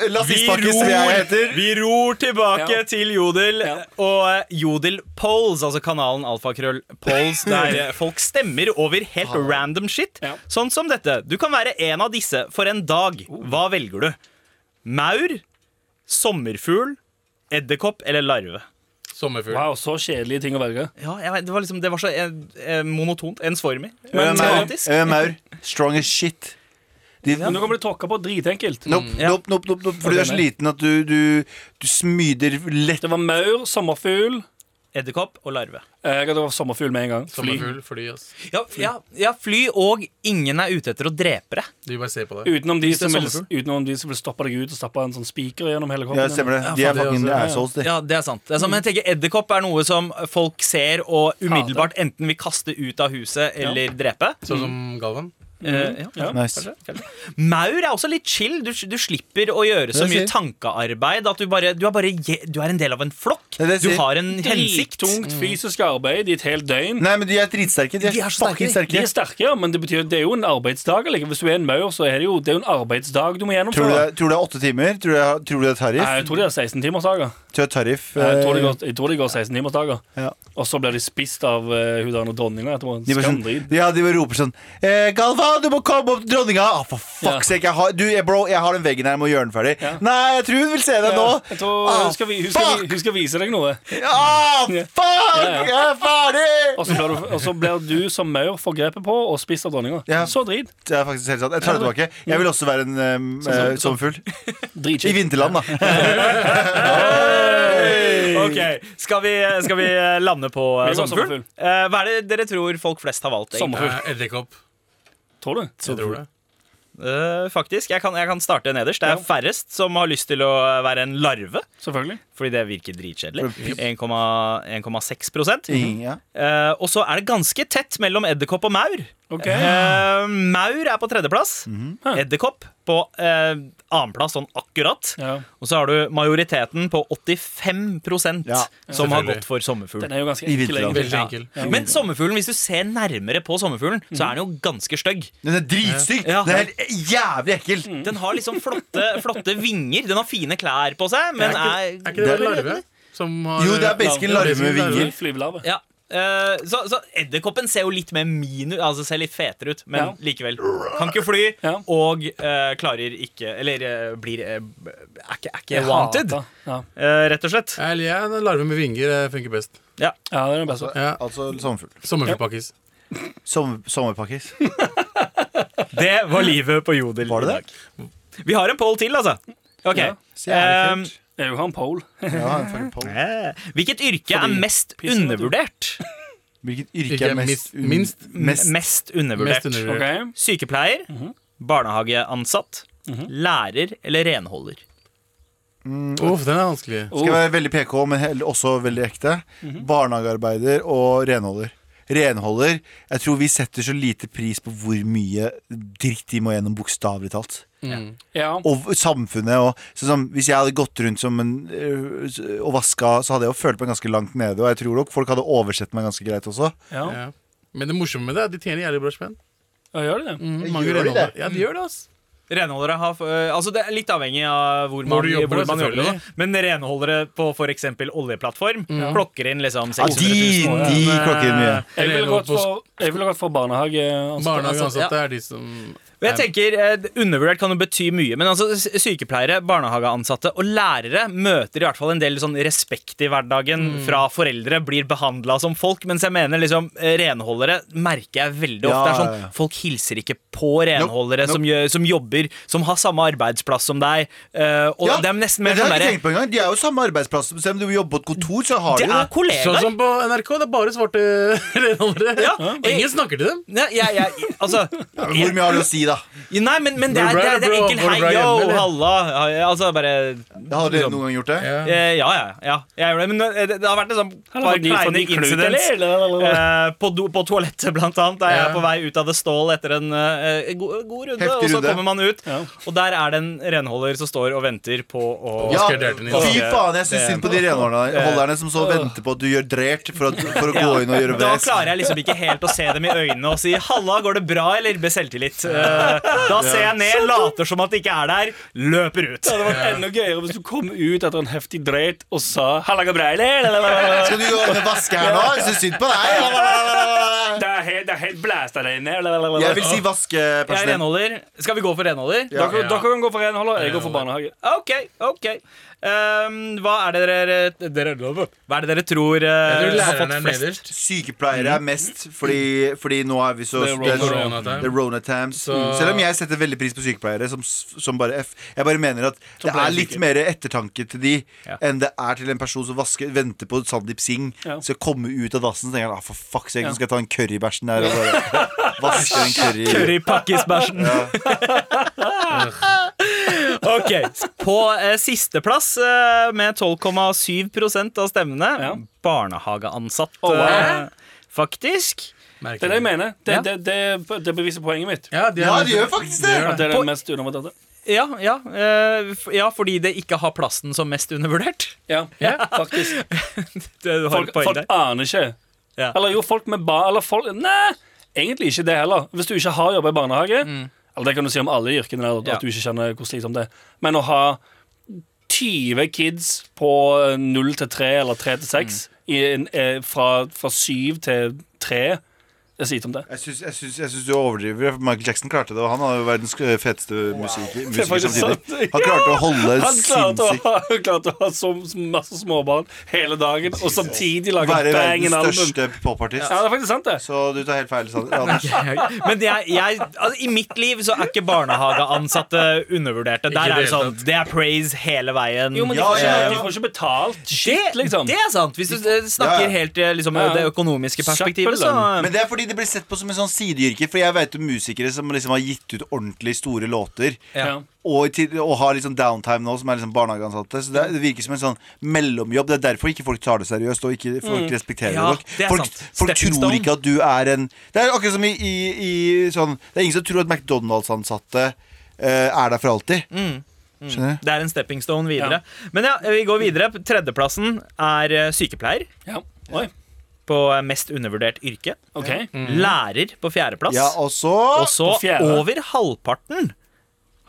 Speaker 2: Vi
Speaker 5: Lassistpakkis, som jeg heter.
Speaker 2: ror, vi ror tilbake
Speaker 4: Ja.
Speaker 2: til Jodel
Speaker 4: Ja.
Speaker 2: og eh, Jodel Polls, altså kanalen Alfakrøll Polls, der eh, folk stemmer over helt random shit.
Speaker 4: Ja.
Speaker 2: Sånn som dette. Du kan være en av disse for en dag. Hva velger du? Maur, sommerfugl, edderkopp eller larve?
Speaker 3: Sommerfugl.
Speaker 4: Wow, så kjedelige ting å velge.
Speaker 2: Ja, jeg vet, det var liksom Det var så eh, eh, monotont. Ensformig. Men
Speaker 5: ØMAUR.
Speaker 2: tematisk.
Speaker 5: ØMAUR. Strong as shit. De,
Speaker 4: Men nå kan bli tråkka på dritenkelt.
Speaker 5: Nope,
Speaker 2: Ja.
Speaker 5: nope, nope, nope, nope. For du er så liten at du, du, du smyder lett
Speaker 4: Det var maur, sommerfugl.
Speaker 2: Edderkopp og larve.
Speaker 4: Jeg hadde vært sommerfugl med en gang. Fly.
Speaker 3: Sommerfugl, fly, ass.
Speaker 2: Ja, ja, ja, fly og ingen er ute etter å drepe deg.
Speaker 3: De bare ser på deg.
Speaker 4: Utenom de,
Speaker 2: Hvis det er
Speaker 4: som vil,
Speaker 2: sommerfugl.
Speaker 4: utenom de som vil stoppe deg ut og stappe en sånn spiker gjennom hele kroppen.
Speaker 5: Ja, stemmer det. De
Speaker 3: Ja,
Speaker 5: er
Speaker 3: faen, det
Speaker 5: fucking
Speaker 3: også, ja, ja.
Speaker 5: assholes, de.
Speaker 2: Ja, det er sant. Det er sant. Men jeg tenker edderkopp er noe som folk ser og umiddelbart enten vil kaste ut av huset eller drepe.
Speaker 3: Sånn som Galvan.
Speaker 2: Eh, ja.
Speaker 4: Ja.
Speaker 5: Nice.
Speaker 2: Maur er også litt chill. Du, du slipper å gjøre så
Speaker 5: Det
Speaker 2: mye
Speaker 5: sier-
Speaker 2: tankearbeid. At du, bare, du, er bare, je- du er en del av en flokk.
Speaker 5: Det er det
Speaker 2: Du
Speaker 5: sier-
Speaker 2: har en hensikt.
Speaker 4: Drittungt fysisk arbeid i et helt døgn.
Speaker 5: Nei, men de er dritsterke. De er,
Speaker 2: De er så
Speaker 5: fucking
Speaker 2: sterke,
Speaker 5: sterke.
Speaker 4: De er sterke, ja, men det betyr det er jo en arbeidsdag. Eller? Hvis du er en maur, så er det jo, det er jo en arbeidsdag du må
Speaker 5: Tror du, det
Speaker 4: gjennomføre.
Speaker 5: er, tror du det er åtte timer? Tror du det er, tror du det
Speaker 4: Nei,
Speaker 5: er tariff?
Speaker 4: jeg tror de har 16-timersdager.
Speaker 5: Tror du det er tariff?
Speaker 4: Jeg tror de
Speaker 5: eh,
Speaker 4: går, jeg tror de går 16-timersdager.
Speaker 5: ja.
Speaker 4: Og så blir de spist av uh, hun der og dronninga etterpå.
Speaker 5: De bare sånn,
Speaker 4: Skamdrit.
Speaker 5: ja, de bare roper sånn eh, 'Galvan, du må komme opp til dronninga!' Ah, for
Speaker 4: Ja.
Speaker 5: fuck's sake, jeg har, du, jeg, bro, jeg har den veggen her, jeg må gjøre den ferdig.
Speaker 4: Ja.
Speaker 5: Nei, jeg tror hun vil se deg nå!
Speaker 4: Jeg tror, hun, skal, vi- hun, skal, vi- hun skal vise deg noe.
Speaker 5: Ah,
Speaker 4: Ja.
Speaker 5: fuck!
Speaker 4: Ja, ja.
Speaker 5: Jeg er ferdig!
Speaker 4: Og så blir du, og så blir du som maur forgrepet på og spist av dronninga.
Speaker 5: Ja.
Speaker 4: Så drit.
Speaker 5: Det er faktisk helt sant. Jeg tar det tilbake. Jeg vil også være en um,
Speaker 4: Sånn
Speaker 5: eh, sommerfugl. I
Speaker 4: Dritkjipt.
Speaker 5: vinterland, da.
Speaker 2: Ok, skal vi, skal vi lande på eh,
Speaker 4: Vi går
Speaker 2: sommerfugl?
Speaker 4: sommerfugl.
Speaker 2: Eh, Hva er det dere tror folk flest har valgt? egentlig?
Speaker 4: Sommerfugl.
Speaker 3: Eh, Edderkopp.
Speaker 4: Tror du?
Speaker 3: Jeg tror det.
Speaker 2: Eh, faktisk. Jeg kan, jeg kan starte nederst. Det er færrest som har lyst til å være en larve.
Speaker 4: Selvfølgelig.
Speaker 2: Fordi det virker dritkjedelig. 1,6
Speaker 5: Ingen, ja.
Speaker 2: Eh, Og så er det ganske tett mellom edderkopp og maur.
Speaker 4: Ok.
Speaker 2: Eh, maur er på tredjeplass. Edderkopp på eh, annenplass, sånn akkurat.
Speaker 4: Ja.
Speaker 2: Og så har du majoriteten på 85
Speaker 5: Ja,
Speaker 2: som har
Speaker 3: selvfølgelig.
Speaker 2: gått for sommerfugl.
Speaker 4: Den er jo ganske
Speaker 5: I
Speaker 4: enkel,
Speaker 5: vinterland.
Speaker 4: egentlig.
Speaker 3: Veldig enkel.
Speaker 2: Men sommerfuglen, hvis du ser nærmere på sommerfuglen, så er den jo ganske stygg.
Speaker 5: Den er dritstygg!
Speaker 2: Ja.
Speaker 5: Den er helt jævlig ekkel!
Speaker 4: Mm.
Speaker 2: Den har liksom flotte, flotte vinger. Den har fine klær på seg, men er,
Speaker 3: Er ikke det en
Speaker 5: Det-
Speaker 3: larve? Som har
Speaker 5: Jo, det er basically en larve med vinger.
Speaker 4: Vinger, Flyvelarve.
Speaker 2: Ja. eh, så, så edderkoppen ser jo litt mer minu Altså ser litt fetere ut, men
Speaker 4: Ja.
Speaker 2: likevel. Kan ikke fly,
Speaker 4: Ja.
Speaker 2: og eh, klarer ikke Eller eh, blir eh, Er ikke, er ikke
Speaker 4: Jeg
Speaker 2: wanted,
Speaker 4: hater. Ja.
Speaker 2: eh, rett og slett.
Speaker 3: Eller, ja, en larve med vinger eh, funker best.
Speaker 4: ja, det er den beste.
Speaker 3: Ja.
Speaker 5: Altså sommerfugl.
Speaker 3: Sommerfuglpakkis.
Speaker 5: Sommer, sommerpakkis.
Speaker 2: Det var livet på Jodel.
Speaker 5: Var det
Speaker 2: i
Speaker 5: det?
Speaker 2: dag. Vi har en poll til, altså. Ok.
Speaker 4: Ja.
Speaker 5: Så jævlig kult.
Speaker 4: Jeg vil ha en pole.
Speaker 5: Ja, en fucking poll.
Speaker 2: Eh, Hvilket yrke er
Speaker 4: Fordi
Speaker 2: mest
Speaker 4: pissen er dum.
Speaker 2: undervurdert?
Speaker 5: Hvilket yrke
Speaker 3: Ikke
Speaker 5: er mest
Speaker 3: minst, minst
Speaker 5: Mest.
Speaker 2: Mest
Speaker 3: Mest
Speaker 2: undervurdert. Mhm.
Speaker 3: undervurdert.
Speaker 4: Ok
Speaker 2: Sykepleier, barnehageansatt, lærer eller renholder?
Speaker 3: Uff, den er vanskelig.
Speaker 4: Oh,
Speaker 5: Skal jeg være veldig PK, men hell- også veldig ekte.
Speaker 2: Mhm.
Speaker 5: Barnehagearbeider og renholder. Renholder Jeg tror vi setter så lite pris på hvor mye dritt de må gjennom, bokstavelig talt.
Speaker 4: Ja.
Speaker 5: Og v- samfunnet og sånn som, Hvis jeg hadde gått rundt som en, øh, s- og vaska, så hadde jeg jo følt meg ganske langt nede. Og jeg tror nok folk hadde oversett meg ganske greit også.
Speaker 4: ja.
Speaker 3: Ja. Men det morsomme med det er at de tjener jævlig bra spenn.
Speaker 4: ja, gjør det det?
Speaker 3: Mm,
Speaker 5: Gjør
Speaker 3: mange
Speaker 5: de det?
Speaker 3: renholder. Ja, de gjør det, ass.
Speaker 2: Renholdere har eh, Altså Det er litt avhengig av hvor man, hvor
Speaker 3: Hvor du jobber,
Speaker 2: man jobber.
Speaker 3: selvfølgelig.
Speaker 2: da. Men renholdere på f.eks. oljeplattform klokker inn liksom
Speaker 5: Mm. Ja, de,
Speaker 2: 600 000
Speaker 5: de klokker inn mye.
Speaker 4: Jeg ville
Speaker 3: Renhold
Speaker 4: gått
Speaker 3: på
Speaker 4: for, jeg ville gått for barnehage.
Speaker 5: altså.
Speaker 4: altså.
Speaker 3: Barnehageansatte er de som
Speaker 2: Og jeg
Speaker 3: er-
Speaker 2: tenker eh, Undervurdert kan jo bety mye, men altså s- sykepleiere, barnehageansatte og lærere møter i hvert fall en del sånn respekt i hverdagen
Speaker 5: Mm.
Speaker 2: fra foreldre, blir behandla som folk, mens jeg mener liksom eh, renholdere merker jeg veldig ofte
Speaker 5: Ja,
Speaker 2: er
Speaker 5: ja, ja.
Speaker 2: sånn Folk hilser ikke på renholdere
Speaker 5: Nope,
Speaker 2: Som, gjør, som jobber, som har samme arbeidsplass som deg, eh, og
Speaker 5: Ja,
Speaker 2: det er nesten mer
Speaker 5: men det
Speaker 2: sånn
Speaker 5: har jeg ikke
Speaker 2: derre
Speaker 5: tenkt på engang. De er jo samme arbeidsplass. Selv om du jobber på et kontor, så har de
Speaker 2: Det
Speaker 5: jo
Speaker 2: er
Speaker 5: det.
Speaker 2: kollegaer!
Speaker 3: Sånn som på NRK, det er bare svarte renholdere.
Speaker 2: Ja.
Speaker 3: Og Ingen snakker til dem.
Speaker 2: Nei, jeg, jeg, altså,
Speaker 5: Hvor mye har det å si, da?
Speaker 2: nei, men, men det er,
Speaker 3: Hvor
Speaker 2: det
Speaker 3: bra
Speaker 2: er,
Speaker 3: er
Speaker 2: det er
Speaker 3: bra-
Speaker 2: enkel
Speaker 3: hvor bra
Speaker 2: hei,
Speaker 3: hjemme,
Speaker 2: yo,
Speaker 3: eller?
Speaker 2: halla. ja, Altså bare
Speaker 5: Har dere noen gang gjort det?
Speaker 2: Eh, ja, ja, ja. Jeg gjør det. Men eh, det, det har vært liksom par kleine incidents. Eh, på, do, på toalettet, blant annet, er jeg
Speaker 3: Ja.
Speaker 2: på vei ut av det stål etter en eh, god, god runde.
Speaker 5: Heftig
Speaker 2: og så
Speaker 5: runde.
Speaker 2: kommer man ut,
Speaker 4: Ja.
Speaker 2: og der er det en renholder som står og venter på å
Speaker 5: Ja,
Speaker 3: Oscar Deltenis.
Speaker 5: fy
Speaker 2: Ja.
Speaker 5: faen, jeg syns synd på de renholderne som så venter på at du gjør drert for, at, for å gå
Speaker 2: Ja,
Speaker 5: inn og gjøre
Speaker 2: Da
Speaker 5: vest.
Speaker 2: klarer jeg liksom ikke helt å se dem i øynene og si 'halla, går det bra', eller med selvtillit. Eh, da ser jeg ned, later som at det ikke er der, løper ut.
Speaker 4: Det hadde vært enda gøyere hvis du kom ut etter en heftig dreit og sa 'halla, Gabriel'.
Speaker 5: Skal du gå inn og vaske her nå? Jeg syns synd på deg!
Speaker 4: Det er er helt, det er helt blæsta der inne.
Speaker 5: Jeg vil si
Speaker 2: Jeg er
Speaker 5: vaskepersonell.
Speaker 2: renholder. Skal vi gå for renholder?
Speaker 5: Ja.
Speaker 4: dere, dere kan gå for renholder, jeg går for barnehage.
Speaker 2: OK, OK. Ehm, hva er det dere, dere Hva er det dere tror eh,
Speaker 3: Jeg tror
Speaker 2: har
Speaker 3: læreren
Speaker 2: fått
Speaker 3: er
Speaker 2: flest?
Speaker 3: nederst.
Speaker 5: Sykepleiere er mest, fordi, fordi nå er vi så
Speaker 4: Det er Rona-
Speaker 5: det er-
Speaker 3: Rona time.
Speaker 5: det er Rona times.
Speaker 3: Så-
Speaker 5: Selv om jeg setter veldig pris på sykepleiere, som, som bare F. Jeg bare mener at det
Speaker 4: pleier
Speaker 5: er litt
Speaker 4: syke.
Speaker 5: mer ettertanke til de
Speaker 2: Ja.
Speaker 5: enn det er til en person som vasker, venter på Sandeep Singh
Speaker 4: Ja.
Speaker 5: skal komme ut av dassen. Så tenker han ah, for fuck's sake,
Speaker 4: Ja.
Speaker 5: nå skal jeg ta en curry i bæsjen der og bare vaske en curry.
Speaker 2: Curry pakkisbæsjen. ok. På eh, sisteplass, eh, med 12,7 av stemmene,
Speaker 4: Ja.
Speaker 2: barnehageansatt,
Speaker 4: Å, wow.
Speaker 2: eh, faktisk.
Speaker 4: Det er det jeg mener. Det,
Speaker 2: Ja.
Speaker 4: det, det, det beviser poenget mitt.
Speaker 3: Ja, de,
Speaker 5: Ja, de gjør faktisk det.
Speaker 4: At det er det mest undervurderte.
Speaker 2: Ja, ja, eh, f ja, fordi det ikke har plassen som mest undervurdert.
Speaker 4: Ja, faktisk.
Speaker 2: Det, du har
Speaker 4: Folk,
Speaker 2: et poeng
Speaker 4: folk
Speaker 2: der.
Speaker 4: aner ikke.
Speaker 2: Ja.
Speaker 4: Eller jo, folk med ba... Eller folk Nei, egentlig ikke det heller. Hvis du ikke har jobba i barnehage Eller det kan du si om alle yrkene, der, at
Speaker 2: Ja.
Speaker 4: du ikke kjenner hvor slitsomt det er. Men å ha 20 kids på 0 til 3 eller 3 til 6 i en, eh, fra, fra 7 til 3 Det er slitsomt, det.
Speaker 5: Jeg syns, jeg, syns, jeg syns du overdriver. for Michael Jackson klarte det, og han har jo verdens øh, feteste musiker,
Speaker 4: Det er
Speaker 5: musiker
Speaker 4: faktisk
Speaker 5: samtidig.
Speaker 4: sant.
Speaker 5: Han klarte å holde
Speaker 4: Han klarte å
Speaker 5: sinnssykt
Speaker 4: ha, han klarte å ha så masse småbarn hele dagen, og samtidig lage
Speaker 5: Være
Speaker 4: bangen
Speaker 5: verdens
Speaker 4: album.
Speaker 5: største popartist.
Speaker 4: Ja, det er faktisk sant, det.
Speaker 5: Så du tar helt feil, Sander. Anders.
Speaker 2: Men jeg, jeg, altså, i mitt liv så er ikke barnehageansatte undervurderte.
Speaker 3: Ikke
Speaker 2: Der er det
Speaker 3: i det hele
Speaker 2: sånn, Det er praise hele veien.
Speaker 4: Jo, men de
Speaker 5: Ja,
Speaker 4: får ikke,
Speaker 5: ja, ja.
Speaker 4: de får ikke betalt
Speaker 2: det,
Speaker 4: shit, liksom.
Speaker 2: det er sant. Hvis du eh, snakker
Speaker 5: Ja, ja.
Speaker 2: helt eh, liksom,
Speaker 4: Ja, ja.
Speaker 2: det økonomiske perspektivet, så
Speaker 4: Kjappelønn.
Speaker 5: Men det er fordi det blir sett på som en sånn sideyrke. For jeg vet om musikere som liksom har gitt ut ordentlig store låter.
Speaker 4: Ja.
Speaker 5: Og, i til, og har liksom downtime nå, som er liksom barnehageansatte. Så det, det virker som en sånn mellomjobb. Det er derfor ikke folk tar det seriøst, og ikke folk respekterer
Speaker 2: Mm. Ja,
Speaker 5: det.
Speaker 2: det er
Speaker 5: nok. Folk,
Speaker 2: sant.
Speaker 5: folk
Speaker 2: Stepping
Speaker 5: tror
Speaker 2: stone.
Speaker 5: ikke at du er en Det er akkurat som i, i, i sånn Det er ingen som tror at McDonald's-ansatte eh, er der for alltid.
Speaker 2: Mm.
Speaker 5: Skjønner du?
Speaker 2: Det er en stepping stone videre. Men ja, vi går videre. Tredjeplassen er eh, sykepleier
Speaker 4: Ja. Oi,
Speaker 2: på eh, mest undervurdert yrke.
Speaker 4: ok Mm.
Speaker 2: Lærer på fjerdeplass.
Speaker 5: Ja, og så
Speaker 2: og så
Speaker 4: på fjerde.
Speaker 2: over halvparten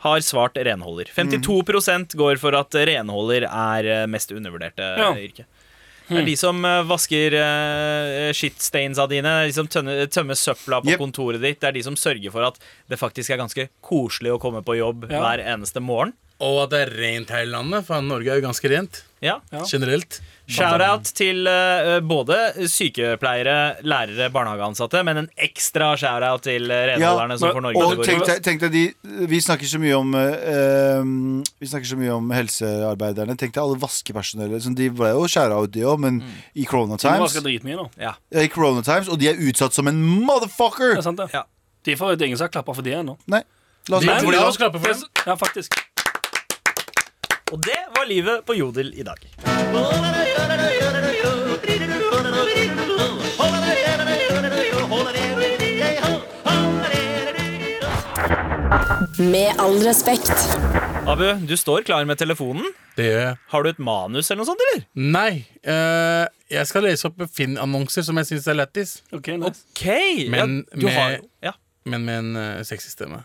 Speaker 2: har svart renholder. 52 går for at renholder er eh, mest undervurderte
Speaker 4: Ja.
Speaker 2: eh, yrke. Det er de som eh, vasker eh, shitstainsa dine, de som tønner, tømmer søpla på
Speaker 5: Jep.
Speaker 2: kontoret ditt. Det er de som sørger for at det faktisk er ganske koselig å komme på jobb
Speaker 4: Ja.
Speaker 2: hver eneste morgen.
Speaker 3: Og at det er rent her i landet, for Norge er jo ganske rent
Speaker 2: Ja.
Speaker 4: Ja.
Speaker 3: generelt.
Speaker 2: Shout-out til eh, både sykepleiere, lærere, barnehageansatte, men en ekstra shout-out til eh, renholderne som
Speaker 4: men-
Speaker 2: får Norge til
Speaker 5: Og
Speaker 2: å gå
Speaker 5: tenk
Speaker 2: rundt.
Speaker 5: deg, tenk deg de, vi snakker så mye om eh, um, Vi snakker så mye om helsearbeiderne. Tenk deg alle vaskepersonellet. Som de ble jo skjæra ut, de òg, men
Speaker 2: Mm.
Speaker 5: i Corona
Speaker 4: De
Speaker 5: Times.
Speaker 4: vasker dritmye nå.
Speaker 2: Ja.
Speaker 5: Ja, I Corona Times, Og de er utsatt som en motherfucker!
Speaker 4: Det er sant, det.
Speaker 2: Ja.
Speaker 4: De får det er ingen som har klappa for de ennå.
Speaker 5: Nei. La oss
Speaker 3: De-
Speaker 5: gå
Speaker 3: de-
Speaker 5: til
Speaker 3: la
Speaker 5: det.
Speaker 3: oss klappe for dem.
Speaker 4: Ja, faktisk.
Speaker 2: Og det var livet på Jodel i dag.
Speaker 1: Med all respekt.
Speaker 2: Abu, du står klar med telefonen.
Speaker 3: Det gjør jeg.
Speaker 2: Har du et manus eller noe sånt, eller?
Speaker 3: Nei. eh, jeg skal lese opp Finn-annonser som jeg syns er lættis,
Speaker 4: Ok, nice.
Speaker 2: OK.
Speaker 3: Men
Speaker 2: ja, du
Speaker 3: med-
Speaker 2: har jo ja.
Speaker 3: men med en uh, sexy stemme.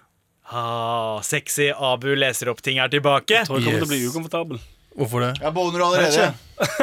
Speaker 2: ah, Sexy Abu leser opp ting er tilbake.
Speaker 4: Tror jeg kommer til å bli
Speaker 3: Yes.
Speaker 4: ukomfortabel.
Speaker 3: Hvorfor det?
Speaker 5: Jeg boner allerede.
Speaker 4: Vet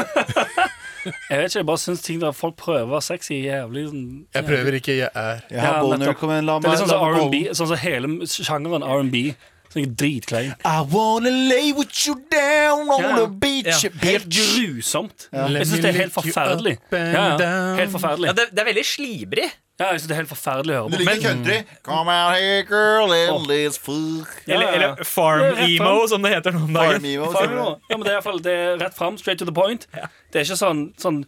Speaker 4: Jeg vet ikke, jeg bare syns ting der folk prøver å være sexy, er jævlig sånn
Speaker 3: Jeg prøver ikke, jeg er
Speaker 5: Jeg har
Speaker 4: Ja,
Speaker 5: boner.
Speaker 4: nettopp.
Speaker 5: Kom igjen, la
Speaker 4: Det er
Speaker 5: meg
Speaker 4: litt sånn
Speaker 5: la
Speaker 4: som
Speaker 5: meg
Speaker 4: R&B,
Speaker 5: boner.
Speaker 4: sånn som hele sjangeren R&B. Sånn ikke dritklein.
Speaker 5: I wanna lay with you down on
Speaker 4: Ja.
Speaker 5: the beach.
Speaker 2: Ja.
Speaker 4: Helt
Speaker 5: bitch.
Speaker 4: grusomt.
Speaker 3: Let
Speaker 4: Jeg syns
Speaker 3: me
Speaker 4: det er
Speaker 3: lick
Speaker 4: helt
Speaker 3: you
Speaker 4: forferdelig.
Speaker 3: up and
Speaker 4: Ja, ja.
Speaker 3: down.
Speaker 4: Helt forferdelig.
Speaker 2: Ja, det, det er veldig slibrig.
Speaker 4: Ja, jeg synes det er helt forferdelig å
Speaker 5: Du
Speaker 4: høre på.
Speaker 5: liker country? Come out here, girl, and let's fuck.
Speaker 4: Ja,
Speaker 2: Eller,
Speaker 4: ja, ja.
Speaker 2: eller farm
Speaker 4: Det er rett
Speaker 2: emo, som det heter nå om
Speaker 5: Farm
Speaker 2: dagen.
Speaker 5: emo,
Speaker 4: Faen,
Speaker 5: sier du det?
Speaker 4: nå. Ja, men det er i hvert fall det er rett fram. Straight to the point. Det er ikke sånn, sånn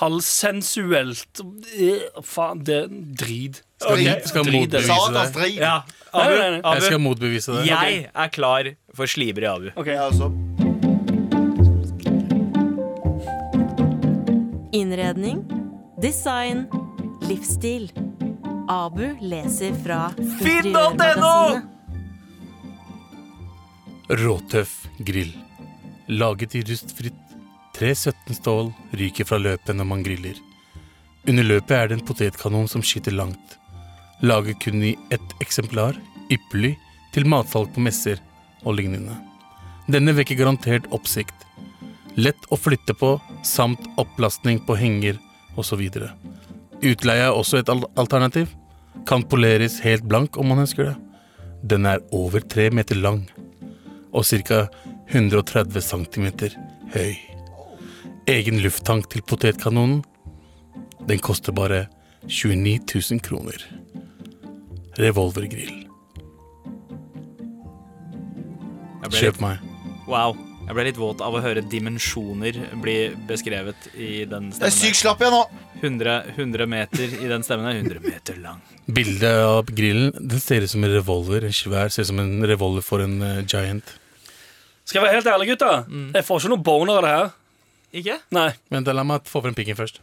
Speaker 4: halvsensuelt øh, Faen, det er drit.
Speaker 3: Skal,
Speaker 5: Ok.
Speaker 3: skal
Speaker 4: Drit, det.
Speaker 3: motbevise
Speaker 5: Satans
Speaker 3: det.
Speaker 5: drit.
Speaker 2: Ja,
Speaker 4: Nei,
Speaker 2: Abu,
Speaker 4: nei, nei.
Speaker 3: Jeg skal
Speaker 2: Abu
Speaker 3: motbevise det.
Speaker 2: jeg er klar for slibrig Abu.
Speaker 4: Ok.
Speaker 5: Jeg også.
Speaker 6: Innredning, design, livsstil. Abu leser fra Interiørmagasinet.
Speaker 3: Råtøff grill. Laget i rustfritt 317 stål ryker fra løpet når man griller. Under løpet er det en potetkanon som skyter langt. Laget kun i ett eksemplar, ypperlig, til matsalg på messer og lignende. Denne vekker garantert oppsikt. Lett å flytte på, samt opplastning på henger osv. Utleie er også et al alternativ. Kan poleres helt blank om man ønsker det. Den er over tre meter lang og ca. 130 cm høy. Egen lufttank til potetkanonen. Den koster bare 29 000 kroner. Revolvergrill.
Speaker 2: Jeg ble
Speaker 3: Kjøp
Speaker 2: litt,
Speaker 3: meg.
Speaker 2: wow. Jeg ble litt våt av å høre dimensjoner bli beskrevet i den
Speaker 5: Jeg er
Speaker 2: stemmen.
Speaker 5: sykt slapp jeg nå.
Speaker 2: 100, 100 meter i den stemmen. er 100 meter lang.
Speaker 3: Bildet av grillen den ser ut som en revolver. En svær ser ut som en revolver for en eh, giant.
Speaker 4: Skal jeg være helt ærlig, gutta? Jeg får ikke noe boner av det her.
Speaker 2: Ikke?
Speaker 4: Nei.
Speaker 3: Men da la meg få frem pikken først.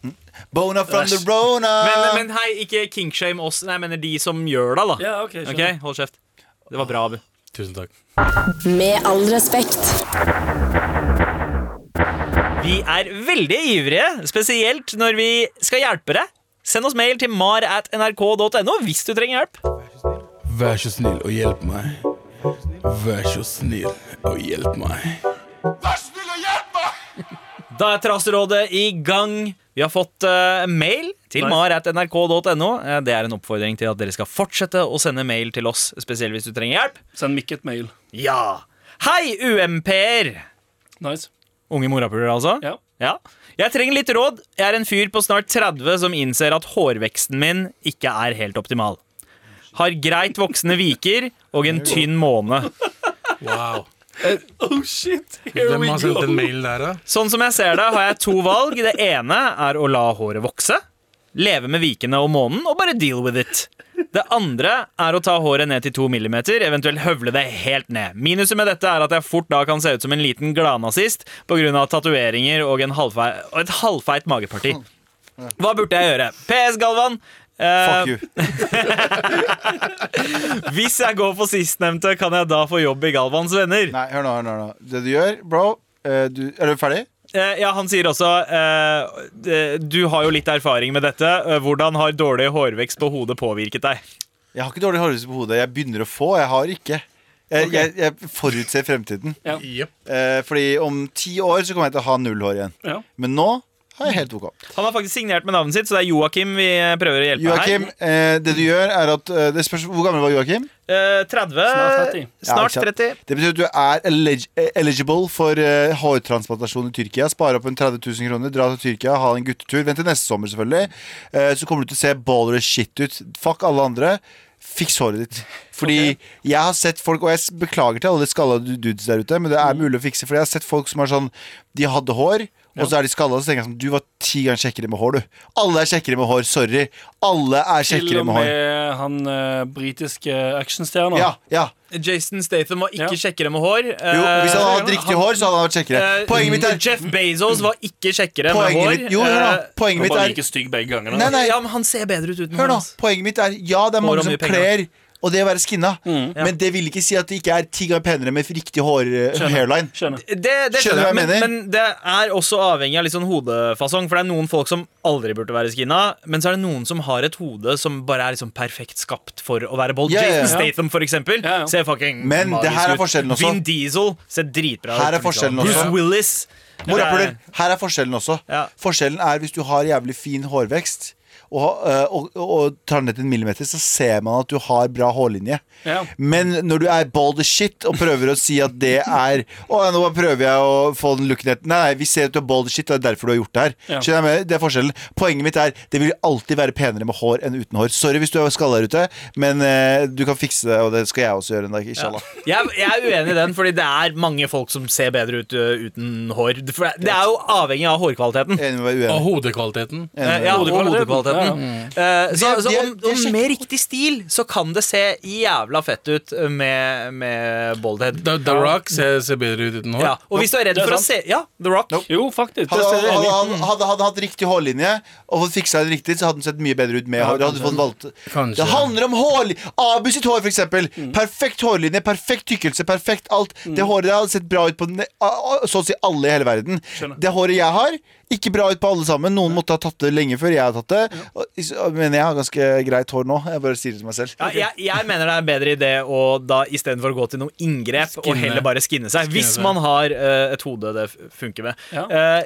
Speaker 5: Bona from the Rona.
Speaker 2: Men, men hei, ikke kinkshame oss. Nei, jeg mener de som gjør det, da.
Speaker 4: Ja, ok, skjønner.
Speaker 2: Ok, Hold kjeft. Det var bra, Abu.
Speaker 3: Tusen takk.
Speaker 1: Med all respekt.
Speaker 2: Vi er veldig ivrige, spesielt når vi skal hjelpe deg. Send oss mail til mar at nrk.no hvis du trenger hjelp.
Speaker 3: Vær så snill og hjelp meg. Vær så snill og hjelp meg.
Speaker 2: Da er Traserådet i gang. Vi har fått eh, mail til
Speaker 4: Nice.
Speaker 2: mar.nrk.no. Eh, Det er en oppfordring til at dere skal fortsette å sende mail til oss, spesielt hvis du trenger hjelp.
Speaker 4: Send Mikk et mail.
Speaker 2: Ja. Hei, UMP-er!
Speaker 4: Nice.
Speaker 2: Unge morapuler, altså?
Speaker 4: Ja.
Speaker 2: Jeg trenger litt råd. Jeg er en fyr på snart 30 som innser at hårveksten min ikke er helt optimal. Har greit voksende viker og en tynn måne.
Speaker 3: Wow.
Speaker 4: Oh shit, here
Speaker 3: Hvem
Speaker 4: we
Speaker 3: har sendt en
Speaker 4: go.
Speaker 3: mail der, da?
Speaker 2: Sånn som jeg ser det, har jeg to valg. Det ene er å la håret vokse. Leve med vikene og månen og bare deal with it. Det andre er å ta håret ned til to millimeter, eventuelt høvle det helt ned. Minuset med dette er at jeg fort da kan se ut som en liten gladnazist pga. tatoveringer og, en halvfei, og et halvfeit mageparti. Hva burde jeg gjøre? PS Galvan. eh,
Speaker 5: Fuck you.
Speaker 2: hvis jeg går for sistnevnte, kan jeg da få jobb i Galvans venner?
Speaker 5: Nei, hør nå, hør nå. hør nå. Det du gjør, bro eh, du, Er du ferdig?
Speaker 2: Eh, ja, han sier også eh, d- Du har jo litt erfaring med dette. Eh, Hvordan har dårlig hårvekst på hodet påvirket deg?
Speaker 5: Jeg har ikke dårlig hårvekst på hodet. Jeg begynner å få. Jeg har ikke. Jeg, jeg, jeg forutser fremtiden.
Speaker 3: Jepp.
Speaker 5: Eh, fordi om ti år så kommer jeg til å ha null hår igjen.
Speaker 4: Ja.
Speaker 5: Men nå har jeg helt OK.
Speaker 2: Han har faktisk signert med navnet sitt, så det er Joakim vi eh, prøver å hjelpe
Speaker 5: Joakim,
Speaker 2: her.
Speaker 5: eh, det du gjør, er at eh, det spørs, Hvor gammel var Joakim?
Speaker 2: Eh, 30
Speaker 4: Snart 30.
Speaker 5: Ja,
Speaker 2: Snart
Speaker 5: ikke
Speaker 2: 30.
Speaker 5: sant. Det betyr at du er elig- eh, eligible for eh, hårtransplantasjon i Tyrkia. Spare opp en 30 000 kroner, dra til Tyrkia, ha en guttetur. Vent til neste sommer, selvfølgelig. Eh, så kommer du til å se baller as shit ut. Fuck alle andre. Fiks håret ditt. Fordi jeg har sett folk, og jeg s- beklager til alle skalla du- dudes der ute, men det er mulig å fikse. For jeg har sett folk som er sånn De hadde hår, og så er de skalla, og så tenker jeg sånn Du var ti ganger kjekkere med hår, du. Alle er kjekkere med hår. Sorry. Alle er
Speaker 4: Til
Speaker 5: kjekkere
Speaker 4: og
Speaker 5: med hår.
Speaker 4: med han eh, britiske actionstjerna.
Speaker 5: Ja, ja.
Speaker 2: Jason Statham var ikke
Speaker 4: Ja.
Speaker 2: kjekkere med hår.
Speaker 5: Jo, hvis han hadde hatt
Speaker 2: Eh,
Speaker 5: riktig hår, så hadde han vært kjekkere.
Speaker 2: eh,
Speaker 5: Poenget mitt er
Speaker 2: Jeff Bezos var ikke kjekkere med
Speaker 5: Poenget
Speaker 2: hår.
Speaker 5: mitt, jo, hør da.
Speaker 2: Eh,
Speaker 5: Poenget
Speaker 4: Han
Speaker 5: mitt
Speaker 4: var
Speaker 5: er
Speaker 4: like stygg begge gangene.
Speaker 5: Nei, nei,
Speaker 2: ja, men han ser bedre ut uten
Speaker 5: hør nå.
Speaker 2: hans.
Speaker 5: Poenget mitt er ja, det er
Speaker 2: Hår og
Speaker 5: mange som
Speaker 2: Mm. mye penger. Mm,
Speaker 5: kler og det å være skinna,
Speaker 2: ja.
Speaker 5: men det vil ikke si at det ikke er ti ganger penere med riktig hår, eh, hairline.
Speaker 4: Skjønner.
Speaker 2: Det, det
Speaker 5: Skjønner du
Speaker 2: skjønner
Speaker 5: hva
Speaker 2: jeg,
Speaker 5: jeg
Speaker 2: men,
Speaker 5: mener?
Speaker 2: men det er også avhengig av litt sånn hodefasong. For det er noen folk som aldri burde være skinna, men så er det noen som har et hode som bare er liksom perfekt skapt for å være bold.
Speaker 5: Ja, ja, ja.
Speaker 2: Jason Statham, for eksempel,
Speaker 4: Ja, ja.
Speaker 2: ser fucking
Speaker 5: Men det
Speaker 2: magisk
Speaker 5: her er
Speaker 2: ut.
Speaker 5: forskjellen også.
Speaker 2: Vin Diesel ser dritbra
Speaker 5: Her er
Speaker 2: ut.
Speaker 5: forskjellen
Speaker 2: Bruce
Speaker 5: også.
Speaker 2: Willis. Det
Speaker 5: Morapuler,
Speaker 2: er-
Speaker 5: her er forskjellen også.
Speaker 2: Ja.
Speaker 5: Forskjellen er hvis du har jævlig fin hårvekst og, eh, og, og, og tar ned til en millimeter, så ser man at du har bra hårlinje.
Speaker 4: Ja.
Speaker 5: Men når du er bald as shit og prøver å si at det er Å, nå bare prøver jeg å få den looken etter Nei, nei, vi ser at du er bald as shit, og det er derfor du har gjort det her.
Speaker 4: Ja.
Speaker 5: Skjønner jeg med? Det er forskjellen. Poenget mitt er det vil alltid være penere med hår enn uten hår. Sorry hvis du er skalla der ute, men eh, du kan fikse det, og det skal jeg også gjøre en dag. Inshallah.
Speaker 2: Jeg, jeg er uenig i den, Fordi det er mange folk som ser bedre ut ø, uten hår. For det- det er jo avhengig av hårkvaliteten.
Speaker 5: Enig med meg,
Speaker 3: Og
Speaker 5: uenig.
Speaker 3: hodekvaliteten.
Speaker 5: Enig
Speaker 2: Eh,
Speaker 5: med
Speaker 2: Ja,
Speaker 5: meg.
Speaker 2: og hodekvaliteten. Eh, Så,
Speaker 5: Det-
Speaker 2: så
Speaker 5: det-
Speaker 2: om,
Speaker 5: det
Speaker 2: om
Speaker 5: sjekker-
Speaker 2: med riktig stil så kan det se jævla fett ut med, med boldhead.
Speaker 3: The, The Rock ser, ser bedre ut uten hår.
Speaker 2: Ja, og hvis du er redd
Speaker 4: Det er
Speaker 2: for å se
Speaker 4: sant.
Speaker 2: Ja, The Rock.
Speaker 4: Jo, faktisk.
Speaker 5: Hadde
Speaker 4: det ser jeg
Speaker 5: han,
Speaker 4: enig i.
Speaker 5: hadde, hadde han hatt riktig hårlinje og fått fiksa det riktig, så hadde han sett mye bedre ut med hår. Hadde fått valgt.
Speaker 3: Kanskje.
Speaker 5: Det handler om hår! Abu sitt hår, for eksempel.
Speaker 2: Mm.
Speaker 5: Perfekt hårlinje, perfekt tykkelse, perfekt alt. Det håret der hadde sett bra ut på den, a- a- så å si alle i hele verden. Det håret jeg har, Ikke bra ut på alle sammen. Noen måtte ha tatt det lenge før jeg har tatt det. Og- Men jeg har ganske greit hår nå. Jeg bare sier det til meg selv.
Speaker 2: Ja, jeg, jeg mener det er en bedre idé å da istedenfor å gå til noe inngrep og
Speaker 3: Skinne.
Speaker 2: heller bare skinne seg. Hvis
Speaker 3: seg.
Speaker 2: man har eh, et hode det f- funker med.
Speaker 4: Ja.
Speaker 2: Eh,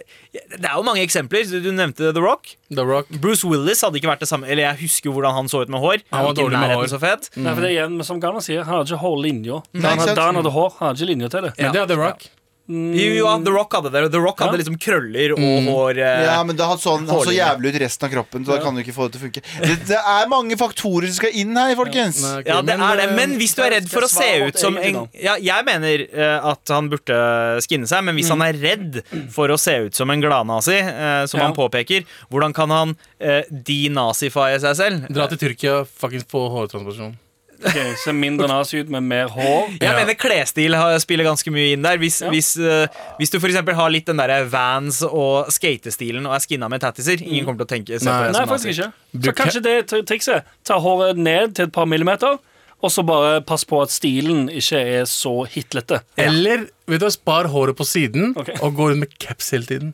Speaker 2: det er jo mange eksempler. Du du nevnte The Rock.
Speaker 3: The Rock.
Speaker 2: Bruce Willis hadde ikke vært det samme Eller jeg husker jo hvordan han så ut med hår.
Speaker 3: Han var
Speaker 2: Ikke i
Speaker 3: dårlig med
Speaker 2: nærheten
Speaker 3: hår.
Speaker 2: Så fet.
Speaker 4: Nei, for det er igjen, men som Garner sier, han hadde ikke hårlinja. Da
Speaker 5: Mm. Nei,
Speaker 4: han
Speaker 5: ikke sant?
Speaker 4: hadde- da han hadde hår, han hadde ikke linja til det.
Speaker 3: Men det er The Rock.
Speaker 2: Jo, jo, ja, The Rock hadde det. og The Rock hadde liksom krøller og hår. eh,
Speaker 5: Ja, men da han så han han sånn- så
Speaker 2: Hårlinje.
Speaker 5: jævlig ut resten av kroppen, så da kan du ikke få det til å funke. Det, det er mange faktorer som skal inn her, folkens.
Speaker 3: Nei, ok,
Speaker 2: Ja, det er det, men hvis du er redd for å se
Speaker 4: eh, Skal jeg svare
Speaker 2: ut som
Speaker 4: vårt eget
Speaker 2: en
Speaker 4: da?
Speaker 2: ja, Jeg mener eh, at han burde skinne seg, men hvis han er redd for å se ut som en gladnazi, eh, som
Speaker 4: Ja.
Speaker 2: han påpeker, hvordan kan han eh, denazifye seg selv?
Speaker 3: Dra til Tyrkia, fuckings få hårtransplantasjon.
Speaker 4: Ok, ser mindre nazi ut med mer hår.
Speaker 2: Eh, Jeg
Speaker 3: Ja.
Speaker 2: mener klesstil har- spiller ganske mye inn der. Hvis,
Speaker 4: Ja.
Speaker 2: hvis, eh, hvis du f.eks. har litt den derre Vans og skatestilen og er skinna med tattiser, ingen kommer til å tenke se på deg
Speaker 3: Nei.
Speaker 4: Mm. Nei,
Speaker 2: som
Speaker 4: faktisk
Speaker 2: nazi.
Speaker 4: ikke. Så
Speaker 3: Bruk-
Speaker 4: kanskje det er tri- trikset. Ta håret ned til et par millimeter, og så bare pass på at stilen ikke er så hitlete.
Speaker 3: Eller vet du, hva, spar håret på siden
Speaker 4: Ok.
Speaker 3: og gå rundt med caps hele tiden.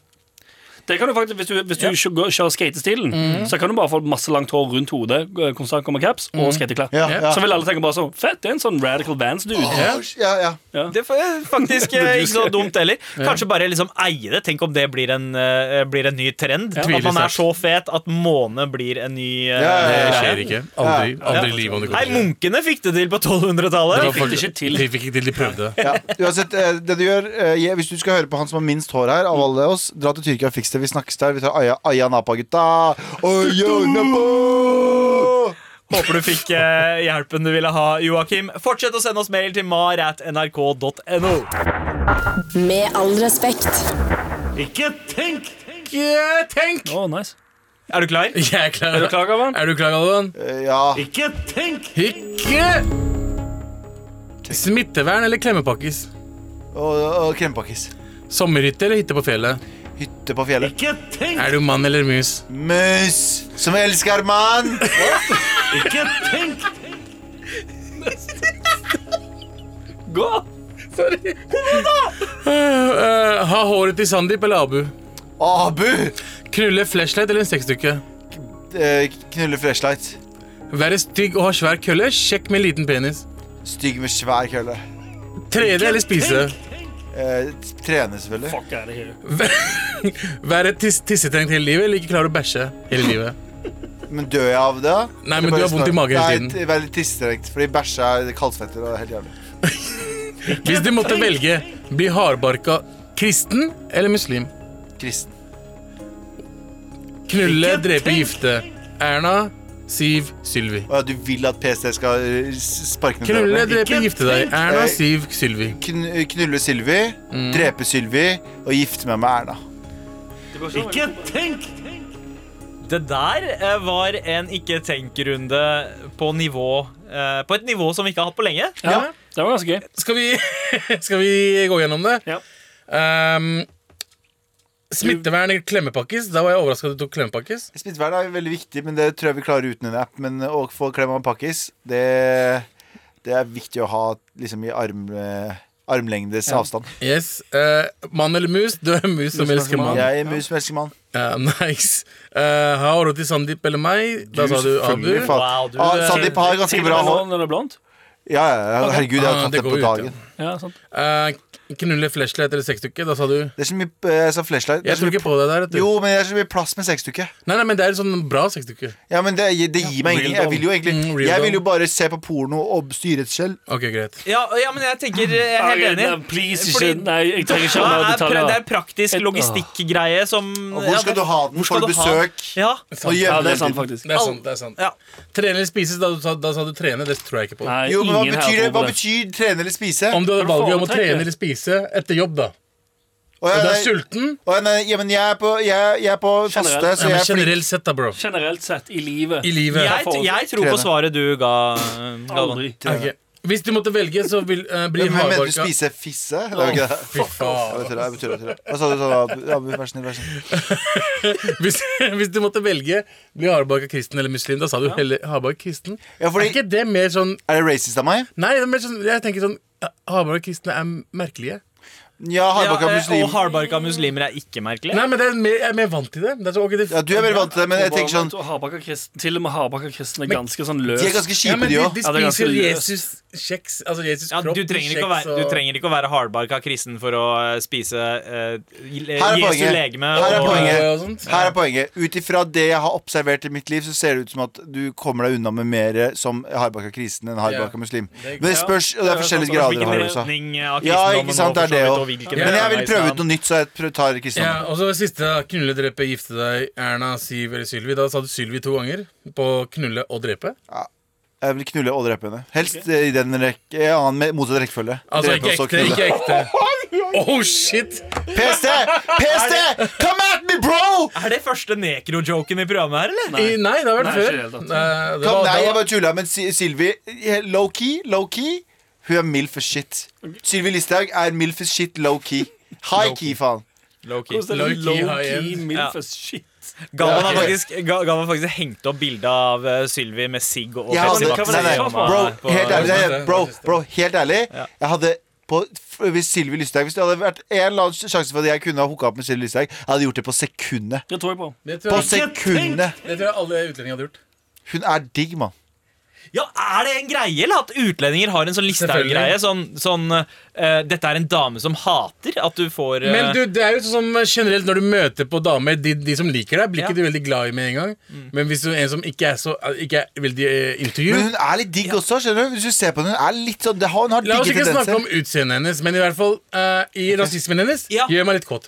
Speaker 4: Det kan du faktisk, Hvis du, hvis du kjø- går- kjører skatestilen, så kan du bare få masse langt hår rundt hodet, g- konstant komme caps og skateklær.
Speaker 5: Ja, ja.
Speaker 4: Så vil alle tenke bare sånn Fett, det er en sånn Radical Vans-dude.
Speaker 5: Ja, ja, ja.
Speaker 2: Det er faktisk eh, ikke så dumt heller. Kanskje bare liksom eie det. Tenk om det blir en, eh, blir en ny trend.
Speaker 3: Tviler
Speaker 2: At man er
Speaker 3: sterkt.
Speaker 2: så fet at måne blir en ny eh,
Speaker 5: Ja,
Speaker 3: Det
Speaker 5: ja, ja.
Speaker 3: skjer ikke. Aldri, aldri i livet om det
Speaker 2: Nei,
Speaker 3: kommer til.
Speaker 2: munkene fikk det til på
Speaker 3: Det var
Speaker 2: 1200-tallet.
Speaker 4: fikk det
Speaker 3: faktisk-
Speaker 4: ikke til.
Speaker 3: De fikk ikke til, de prøvde.
Speaker 5: Ja. Uansett, eh, det du gjør eh, jeg- Hvis du skal høre på han som har minst hår her,
Speaker 3: Mm.
Speaker 5: av alle oss, dra til Tyrkia og fiks det. Vi snakkes der. Vi tar Aya, Aya Napa, gutta. Aya Napa!
Speaker 2: Håper du fikk eh, hjelpen du ville ha, Joakim. Fortsett å sende oss mail til mar.nrk.no.
Speaker 1: Med all respekt.
Speaker 2: Ikke tenk!
Speaker 3: Ikke tenk!
Speaker 4: Å, nice.
Speaker 2: Er du klar?
Speaker 3: Jeg er klar.
Speaker 4: Er du klar, Gavan?
Speaker 3: Er du klar, Galvan?
Speaker 5: Eh, Ja.
Speaker 2: Ikke tenk!
Speaker 3: Ikke Smittevern eller klemmepakkis?
Speaker 5: Og, og krempakkis.
Speaker 3: Sommerhytte eller hytte på fjellet?
Speaker 5: Hytte på fjellet.
Speaker 2: Ikke tenk!
Speaker 3: Er du mann eller mus?
Speaker 5: Mus som elsker mann!
Speaker 2: Ikke tenk!
Speaker 4: Gå!
Speaker 3: Øh, øh, ha håret til Sandeep eller Abu?
Speaker 5: Abu!
Speaker 3: Knulle flashlight eller en sexdukke?
Speaker 5: Eh, Knulle flashlight.
Speaker 3: Være stygg og ha svær kølle? Sjekk med liten penis.
Speaker 5: Stygg med svær kølle.
Speaker 3: Trene eller spise?
Speaker 5: Eh, trene, selvfølgelig.
Speaker 4: Fuck, er det her?
Speaker 3: Være tis tissetrengt hele livet eller ikke klare å bæsje hele livet?
Speaker 5: Men dør jeg av det?
Speaker 3: Nei, men du har vondt i magen hele tiden.
Speaker 5: Nei, det er veldig tisstrengt, fordi bæsje er kaldsvetter og helt jævlig.
Speaker 3: Hvis du måtte velge, bli hardbarka kristen eller muslim?
Speaker 5: Kristen.
Speaker 3: Knulle, drepe, gifte. Erna, Siv, Sylvi.
Speaker 5: Å ja, du vil at PC skal eh, s- sparke ned
Speaker 3: Knulle,
Speaker 5: dørene.
Speaker 3: drepe, gifte deg. Erna,
Speaker 5: Nei.
Speaker 3: Siv, Sylvi.
Speaker 5: Kn knulle Sylvi, drepe Sylvi og gifte meg med Erna.
Speaker 2: Ikke tenk! Det der eh, var en ikke tenk-runde på nivå eh, På et nivå som vi ikke har hatt på lenge.
Speaker 4: Ja, det var ganske gøy.
Speaker 3: Skal vi, skal vi gå gjennom det?
Speaker 4: Ja.
Speaker 3: Ehm, smittevern eller klemmepakkis? Da var jeg overraska at du tok klemmepakkis.
Speaker 5: Smittevern er veldig viktig, men det tror jeg vi klarer uten en app. Men å få klem av en pakkis, det, det er viktig å ha liksom, i arm, eh, armlengdes avstand.
Speaker 3: Yes. eh, mann eller mus? Du er en mus som elsker mann.
Speaker 5: Jeg er mus som elsker mann.
Speaker 3: Ja, nice. Eh, ha råd til Sandeep eller meg? Da
Speaker 5: Du,
Speaker 3: sa du Abu.
Speaker 5: selvfølgelig, faen.
Speaker 2: Wow, du-
Speaker 5: ah, Sandeep har ganske bra hår.
Speaker 4: Når det er blondt?
Speaker 5: Ja, ja, ja, herregud, jeg
Speaker 3: Ah,
Speaker 5: har tatt
Speaker 3: det
Speaker 5: det
Speaker 3: går
Speaker 5: på
Speaker 3: ut, ja.
Speaker 5: dagen.
Speaker 4: Ja, sant.
Speaker 3: Eh, knulle flashlight eller sexdukke? Da sa du
Speaker 5: Det er så mye eh, Jeg sa flashlight. Det
Speaker 3: Jeg
Speaker 5: er så
Speaker 3: tror
Speaker 5: mye
Speaker 3: ikke på deg der. vet du.
Speaker 5: Jo, men det er så mye plass med sexdukke.
Speaker 3: Nei, nei, men det er en sånn bra sexdukke.
Speaker 5: Ja, men det, det gir meg ingenting. Jeg vil jo
Speaker 3: Mm,
Speaker 5: egentlig
Speaker 3: real
Speaker 5: Jeg vil jo
Speaker 3: dom.
Speaker 5: bare se på porno og styre et skjell.
Speaker 3: Ok, greit.
Speaker 2: Ja, ja, men jeg tenker eh, Jeg er helt enig.
Speaker 4: Nei, Please,
Speaker 2: Fordi-
Speaker 4: ikke. Nei, jeg trenger ikke
Speaker 2: Ja,
Speaker 4: mer
Speaker 2: er pra- det
Speaker 4: detaljer.
Speaker 2: er praktisk logistikkgreie som
Speaker 5: Og hvor
Speaker 2: ja,
Speaker 5: skal
Speaker 2: det-
Speaker 5: du ha den?
Speaker 2: hvor skal du
Speaker 5: Får
Speaker 2: ha
Speaker 5: besøk?
Speaker 2: den? Ja.
Speaker 5: Og
Speaker 3: Ja,
Speaker 4: Ja,
Speaker 5: gjemme
Speaker 4: det er
Speaker 5: den
Speaker 4: sant,
Speaker 5: til.
Speaker 4: faktisk.
Speaker 3: Det er sant. det er sant
Speaker 2: ja.
Speaker 3: Trene eller spise? Da, du sa- da sa du trene. Det tror jeg ikke på.
Speaker 4: Nei,
Speaker 5: Jo, men hva
Speaker 4: ingen her
Speaker 5: betyr, det?
Speaker 4: tror på
Speaker 5: hva betyr trene eller spise?
Speaker 3: Om du hadde
Speaker 4: Hva er det
Speaker 3: valget om å
Speaker 4: foretrekker?
Speaker 3: trene eller spise etter jobb, da.
Speaker 5: Å,
Speaker 3: Og
Speaker 5: ja,
Speaker 3: du er
Speaker 5: nei,
Speaker 3: sulten?
Speaker 5: å, ja, nei, ja, men jeg er på, jeg, jeg er på faste,
Speaker 4: Generelt.
Speaker 5: så
Speaker 3: Ja, men
Speaker 5: jeg er flink.
Speaker 3: generelt sett, da, bro.
Speaker 4: Generelt sett i livet.
Speaker 3: I livet.
Speaker 2: Jeg, t- jeg tror på
Speaker 5: Trene.
Speaker 2: svaret du ga, Galvan.
Speaker 4: Aldri.
Speaker 3: Ok. Hvis du måtte velge, så vil eh, bli
Speaker 5: Men mener du
Speaker 3: hardbarka.
Speaker 5: spise fisse? Det var ikke det.
Speaker 3: Fy
Speaker 5: Ja, jeg
Speaker 3: faen.
Speaker 5: tror det, jeg tror det, jeg tror det. Hva sa du? sa du? Abu? Abu, Vær så snill, vær så snill.
Speaker 3: Hvis, hvis du måtte velge, bli hardbarka kristen eller muslim, da sa du heller hardbarka kristen.
Speaker 5: Ja, fordi-
Speaker 3: Er ikke det mer sånn
Speaker 5: Er det racist av meg?
Speaker 3: Nei, det er mer sånn, jeg tenker sånn Hardbarka kristne er merkelige.
Speaker 5: Ja, hardbakka
Speaker 2: Ja, eh,
Speaker 5: muslim.
Speaker 2: og hardbarka muslimer er ikke merkelig.
Speaker 3: Nei, men det er mer, jeg er mer vant til det. det, er så, ok, det
Speaker 5: Ja, du er veldig vant til det, men jeg tenker sånn
Speaker 4: Hardbakka kristen, til og med hardbakka kristen er ganske sånn løs.
Speaker 5: De er ganske
Speaker 3: ja,
Speaker 5: kjipe,
Speaker 3: men
Speaker 5: de
Speaker 3: de,
Speaker 5: òg.
Speaker 3: de
Speaker 4: Ja, det er
Speaker 3: spiser
Speaker 4: ganske
Speaker 3: Jesus kjeks Altså Jesus
Speaker 2: Ja,
Speaker 3: kropp
Speaker 2: du, trenger ikke å
Speaker 3: kjeks
Speaker 2: være,
Speaker 3: og-
Speaker 2: du trenger ikke å være hardbarka kristen for å eh, spise eh, Je-
Speaker 5: Her er
Speaker 2: Jesu
Speaker 5: poenget.
Speaker 2: legeme.
Speaker 5: Her er
Speaker 2: og-
Speaker 5: poenget.
Speaker 3: og sånt.
Speaker 5: Her er poenget. Ut ifra det jeg har observert i mitt liv, så ser det ut som at du kommer deg unna med mer som hardbakka kristen enn
Speaker 3: Ja.
Speaker 5: hardbakka muslim.
Speaker 3: Det-
Speaker 5: Men det spørs, og det er forskjellige
Speaker 2: Altså,
Speaker 5: grader
Speaker 2: hvilken
Speaker 5: av hardbakka.
Speaker 2: retning av
Speaker 5: Ja,
Speaker 2: kristendommen
Speaker 5: ikke sant,
Speaker 2: og
Speaker 5: det er
Speaker 2: for
Speaker 5: det
Speaker 2: så vidt,
Speaker 5: òg.
Speaker 2: og hvilken
Speaker 5: Men jeg
Speaker 2: retning
Speaker 5: vil
Speaker 2: av
Speaker 5: prøve
Speaker 2: islam.
Speaker 5: ut noe nytt, så jeg prøv- tar kristendommen.
Speaker 3: Ja, og så det siste da, knulle, drepe, gifte deg, Erna, Siv eller Sylvi. Da sa du Sylvi to ganger på knulle og drepe.
Speaker 5: Jeg vil knulle og drepe henne. Helst eh, i den rekke, ja, annen med- motsatt rekkefølge.
Speaker 3: Altså
Speaker 5: Drepe
Speaker 3: ikke
Speaker 5: og så
Speaker 3: ekte,
Speaker 5: knulle.
Speaker 3: ikke ekte. Oh shit!
Speaker 5: PST! PST! Come at me, bro!
Speaker 2: Er det første nekrojoken i programmet her, eller?
Speaker 3: I, nei, det har vært
Speaker 4: Nei,
Speaker 3: før.
Speaker 4: ikke i det hele tatt.
Speaker 3: Nei, det
Speaker 5: Kom,
Speaker 3: var- det
Speaker 5: nei,
Speaker 3: var-
Speaker 5: jeg bare tulla, men Si- Sylvi eh, Low-key, low-key. Hun er mild for shit. Sylvi Listhaug er mild for shit, low-key. High-key, faen.
Speaker 2: Low-key.
Speaker 4: Hvordan er
Speaker 3: Low-key
Speaker 4: det Low-key
Speaker 3: high-end.
Speaker 4: milf
Speaker 2: Ja.
Speaker 4: as shit.
Speaker 2: Galvan har
Speaker 5: Ja, ok.
Speaker 2: faktisk, Ga- Galvan har faktisk hengt opp bilde av eh, Sylvi med sigg og
Speaker 5: Jeg hadde,
Speaker 2: Pepsi Max.
Speaker 4: hva var det
Speaker 5: nei, nei,
Speaker 4: jeg sa på-
Speaker 5: bro,
Speaker 2: på-
Speaker 3: det
Speaker 5: helt ærlig,
Speaker 3: var
Speaker 5: nei,
Speaker 3: det
Speaker 5: bro,
Speaker 3: siste.
Speaker 5: bro, helt ærlig
Speaker 2: Ja.
Speaker 5: Jeg hadde på, f- hvis Sylvi Listhaug Hvis det hadde vært en eller annen sjanse for at jeg kunne ha hooka opp med Sylvi Listhaug, jeg hadde gjort det på sekundet.
Speaker 4: Det tror jeg på.
Speaker 3: Det
Speaker 5: På
Speaker 3: tror jeg-
Speaker 5: sekundet!
Speaker 3: det tror jeg alle utlendinger hadde gjort.
Speaker 5: Hun er digg, mann.
Speaker 2: Ja, Er det en greie, eller at utlendinger har en sånn Listhaug-greie? Sånn, sånn eh, 'Dette er en dame som hater'? At du får eh,
Speaker 3: Men du, det er jo sånn som generelt når du møter på damer, de, de som liker deg, blir
Speaker 2: Ja.
Speaker 3: ikke du veldig glad i med en gang. Men hvis du er en som ikke er, så, ikke er veldig eh, intervju
Speaker 5: Men hun er litt digg også, skjønner du. Hvis du ser på henne, hun er litt sånn det har- Hun har
Speaker 3: La oss
Speaker 5: digge
Speaker 3: ikke snakke
Speaker 5: tendenser.
Speaker 3: om utseendet hennes, men i hvert fall eh, i rasismen hennes
Speaker 2: Ja.
Speaker 3: gjør meg litt kåt.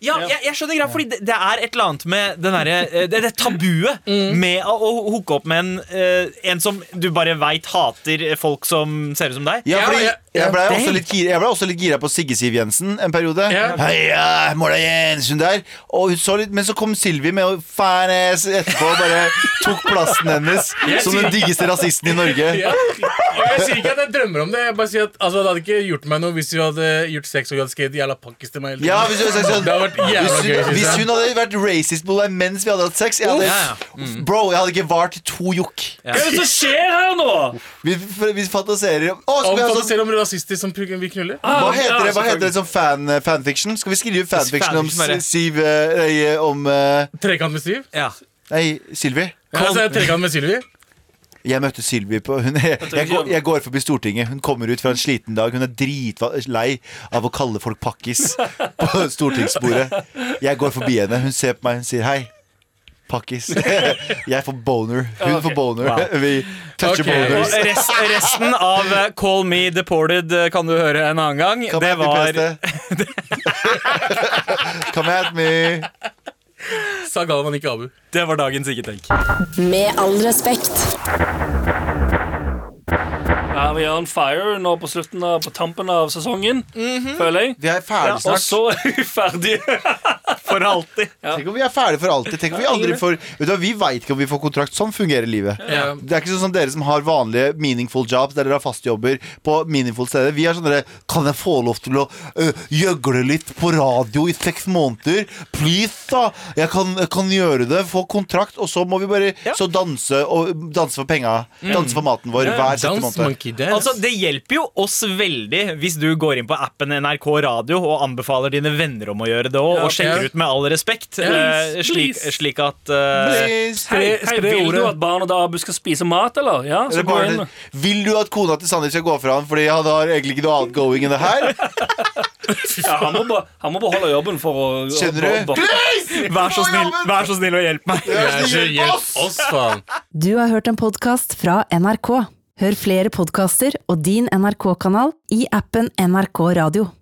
Speaker 2: Ja, jeg, jeg skjønner greia, fordi det, det er et eller annet med den derre, eh, det, det tabuet med å, å hooke opp med en, eh, en som du bare veit hater folk som ser ut som deg.
Speaker 5: Ja,
Speaker 3: Ja,
Speaker 5: fordi
Speaker 3: ja, ja.
Speaker 5: jeg ble
Speaker 2: Dang.
Speaker 5: også litt gira, jeg ble også litt gira på Sigge Siv Jensen en periode.
Speaker 3: Ja.
Speaker 5: Heia, Måla Jensen der og hun så litt, Men så kom Sylvi med og fanes etterpå og bare tok plassen hennes som den diggeste rasisten i Norge.
Speaker 3: Ja. Og jeg sier ikke at jeg drømmer om det. Jeg bare sier at altså, Det hadde ikke gjort meg noe hvis du hadde gjort sex og jeg hadde skrevet 'jævla pakkis' til meg. hele tiden.
Speaker 5: Ja, hvis hun, hadde sagt sånn,
Speaker 3: Det hadde vært jævla
Speaker 5: hvis,
Speaker 3: gøy,
Speaker 5: hun,
Speaker 3: synes
Speaker 5: hvis
Speaker 3: jeg.
Speaker 5: hun hadde vært racist mot deg mens vi hadde hatt sex jeg hadde,
Speaker 2: Ja,
Speaker 3: Mm.
Speaker 5: Bro, jeg hadde ikke vart to jokk.
Speaker 4: Hva er det som skjer her nå?
Speaker 5: Vi, for- vi fantaserer om Å, skal
Speaker 3: Om
Speaker 5: vi ha
Speaker 3: folk
Speaker 5: sånn
Speaker 3: selv om rasister som pugger- vil knulle.
Speaker 5: hva heter, det, hva
Speaker 4: selvfølgelig.
Speaker 5: heter det som fan, eh, fanfiction? Skal vi skrive fanfiction om
Speaker 2: Fanfiction, bare.
Speaker 5: Siv eh, nei, Om eh,
Speaker 3: Trekant med Siv.
Speaker 2: Ja.
Speaker 5: Nei, Sylvi?
Speaker 3: Ja, så er det trekant med Sylvi.
Speaker 5: Jeg møtte Sylvi på hun, jeg, jeg, går, jeg går forbi Stortinget. Hun kommer ut fra en sliten dag. Hun er dritlei av å kalle folk pakkis på stortingsbordet. Jeg går forbi henne. Hun ser på meg hun sier hei. Pakkis. Jeg får boner. Hun får boner. Vi toucher
Speaker 3: Ok.
Speaker 2: Og
Speaker 5: boners.
Speaker 2: rest, resten av eh, Call Me Deported eh, kan du høre en annen gang.
Speaker 5: Come
Speaker 2: Det
Speaker 5: at me,
Speaker 2: var
Speaker 5: PST. Come at me.
Speaker 3: Sa Galvan, ikke Abu.
Speaker 2: Det var dagens ikke tenk.
Speaker 1: Med all respekt.
Speaker 4: Ja, vi er on fire nå på slutten av, på tampen av sesongen, føler jeg.
Speaker 5: Mhm. Vi er ferdige
Speaker 4: Og
Speaker 5: snart.
Speaker 4: så er vi ferdige.
Speaker 2: For alltid.
Speaker 5: Tenk om vi er ferdige for alltid. Tenk om Vi aldri får Vet du hva, vi veit ikke om vi får kontrakt. Sånn fungerer livet.
Speaker 3: Ja.
Speaker 5: Det er ikke sånn som dere som har vanlige meaningful jobs Der dere har faste jobber på meaningful steder Vi er sånn dere Kan jeg få lov til å øh, gjøgle litt på radio i seks måneder? Please da Jeg kan, jeg kan gjøre det Få kontrakt Og så må vi bare
Speaker 2: Ja. Mm.
Speaker 5: Så danse og, Danse for penga Danse for maten vår Hver sjette
Speaker 3: Dance
Speaker 5: måned
Speaker 3: monkey dance.
Speaker 2: Altså, Det hjelper jo oss veldig hvis du går inn på appen NRK Radio og anbefaler dine venner om å gjøre det òg, og
Speaker 3: Ja, ok.
Speaker 2: sjekker ut med all respekt. eh,
Speaker 4: Please,
Speaker 2: slik,
Speaker 4: please.
Speaker 2: slik at eh,
Speaker 5: Please.
Speaker 4: Hei,
Speaker 3: Spre-
Speaker 4: hei,
Speaker 3: spre
Speaker 4: vil du
Speaker 3: ordet.
Speaker 4: at barn og Abu skal spise mat, eller? Ja, så
Speaker 5: Eller
Speaker 4: gå
Speaker 5: bare,
Speaker 4: inn.
Speaker 5: vil du at kona til Sandeep skal gå fra han Fordi han har egentlig ikke noe outgoing enn det her
Speaker 4: Ja, han, må bare, han må beholde jobben for å
Speaker 5: Skjønner du?
Speaker 4: å- å-
Speaker 2: Vær så snill, vær så snill og hjelp meg.
Speaker 5: Vær
Speaker 3: Ja,
Speaker 5: så
Speaker 3: så
Speaker 5: snill, hjelp oss!
Speaker 3: hjelp oss, faen.
Speaker 7: Du har hørt en podkast fra NRK. Hør flere podkaster og din NRK-kanal i appen NRK Radio.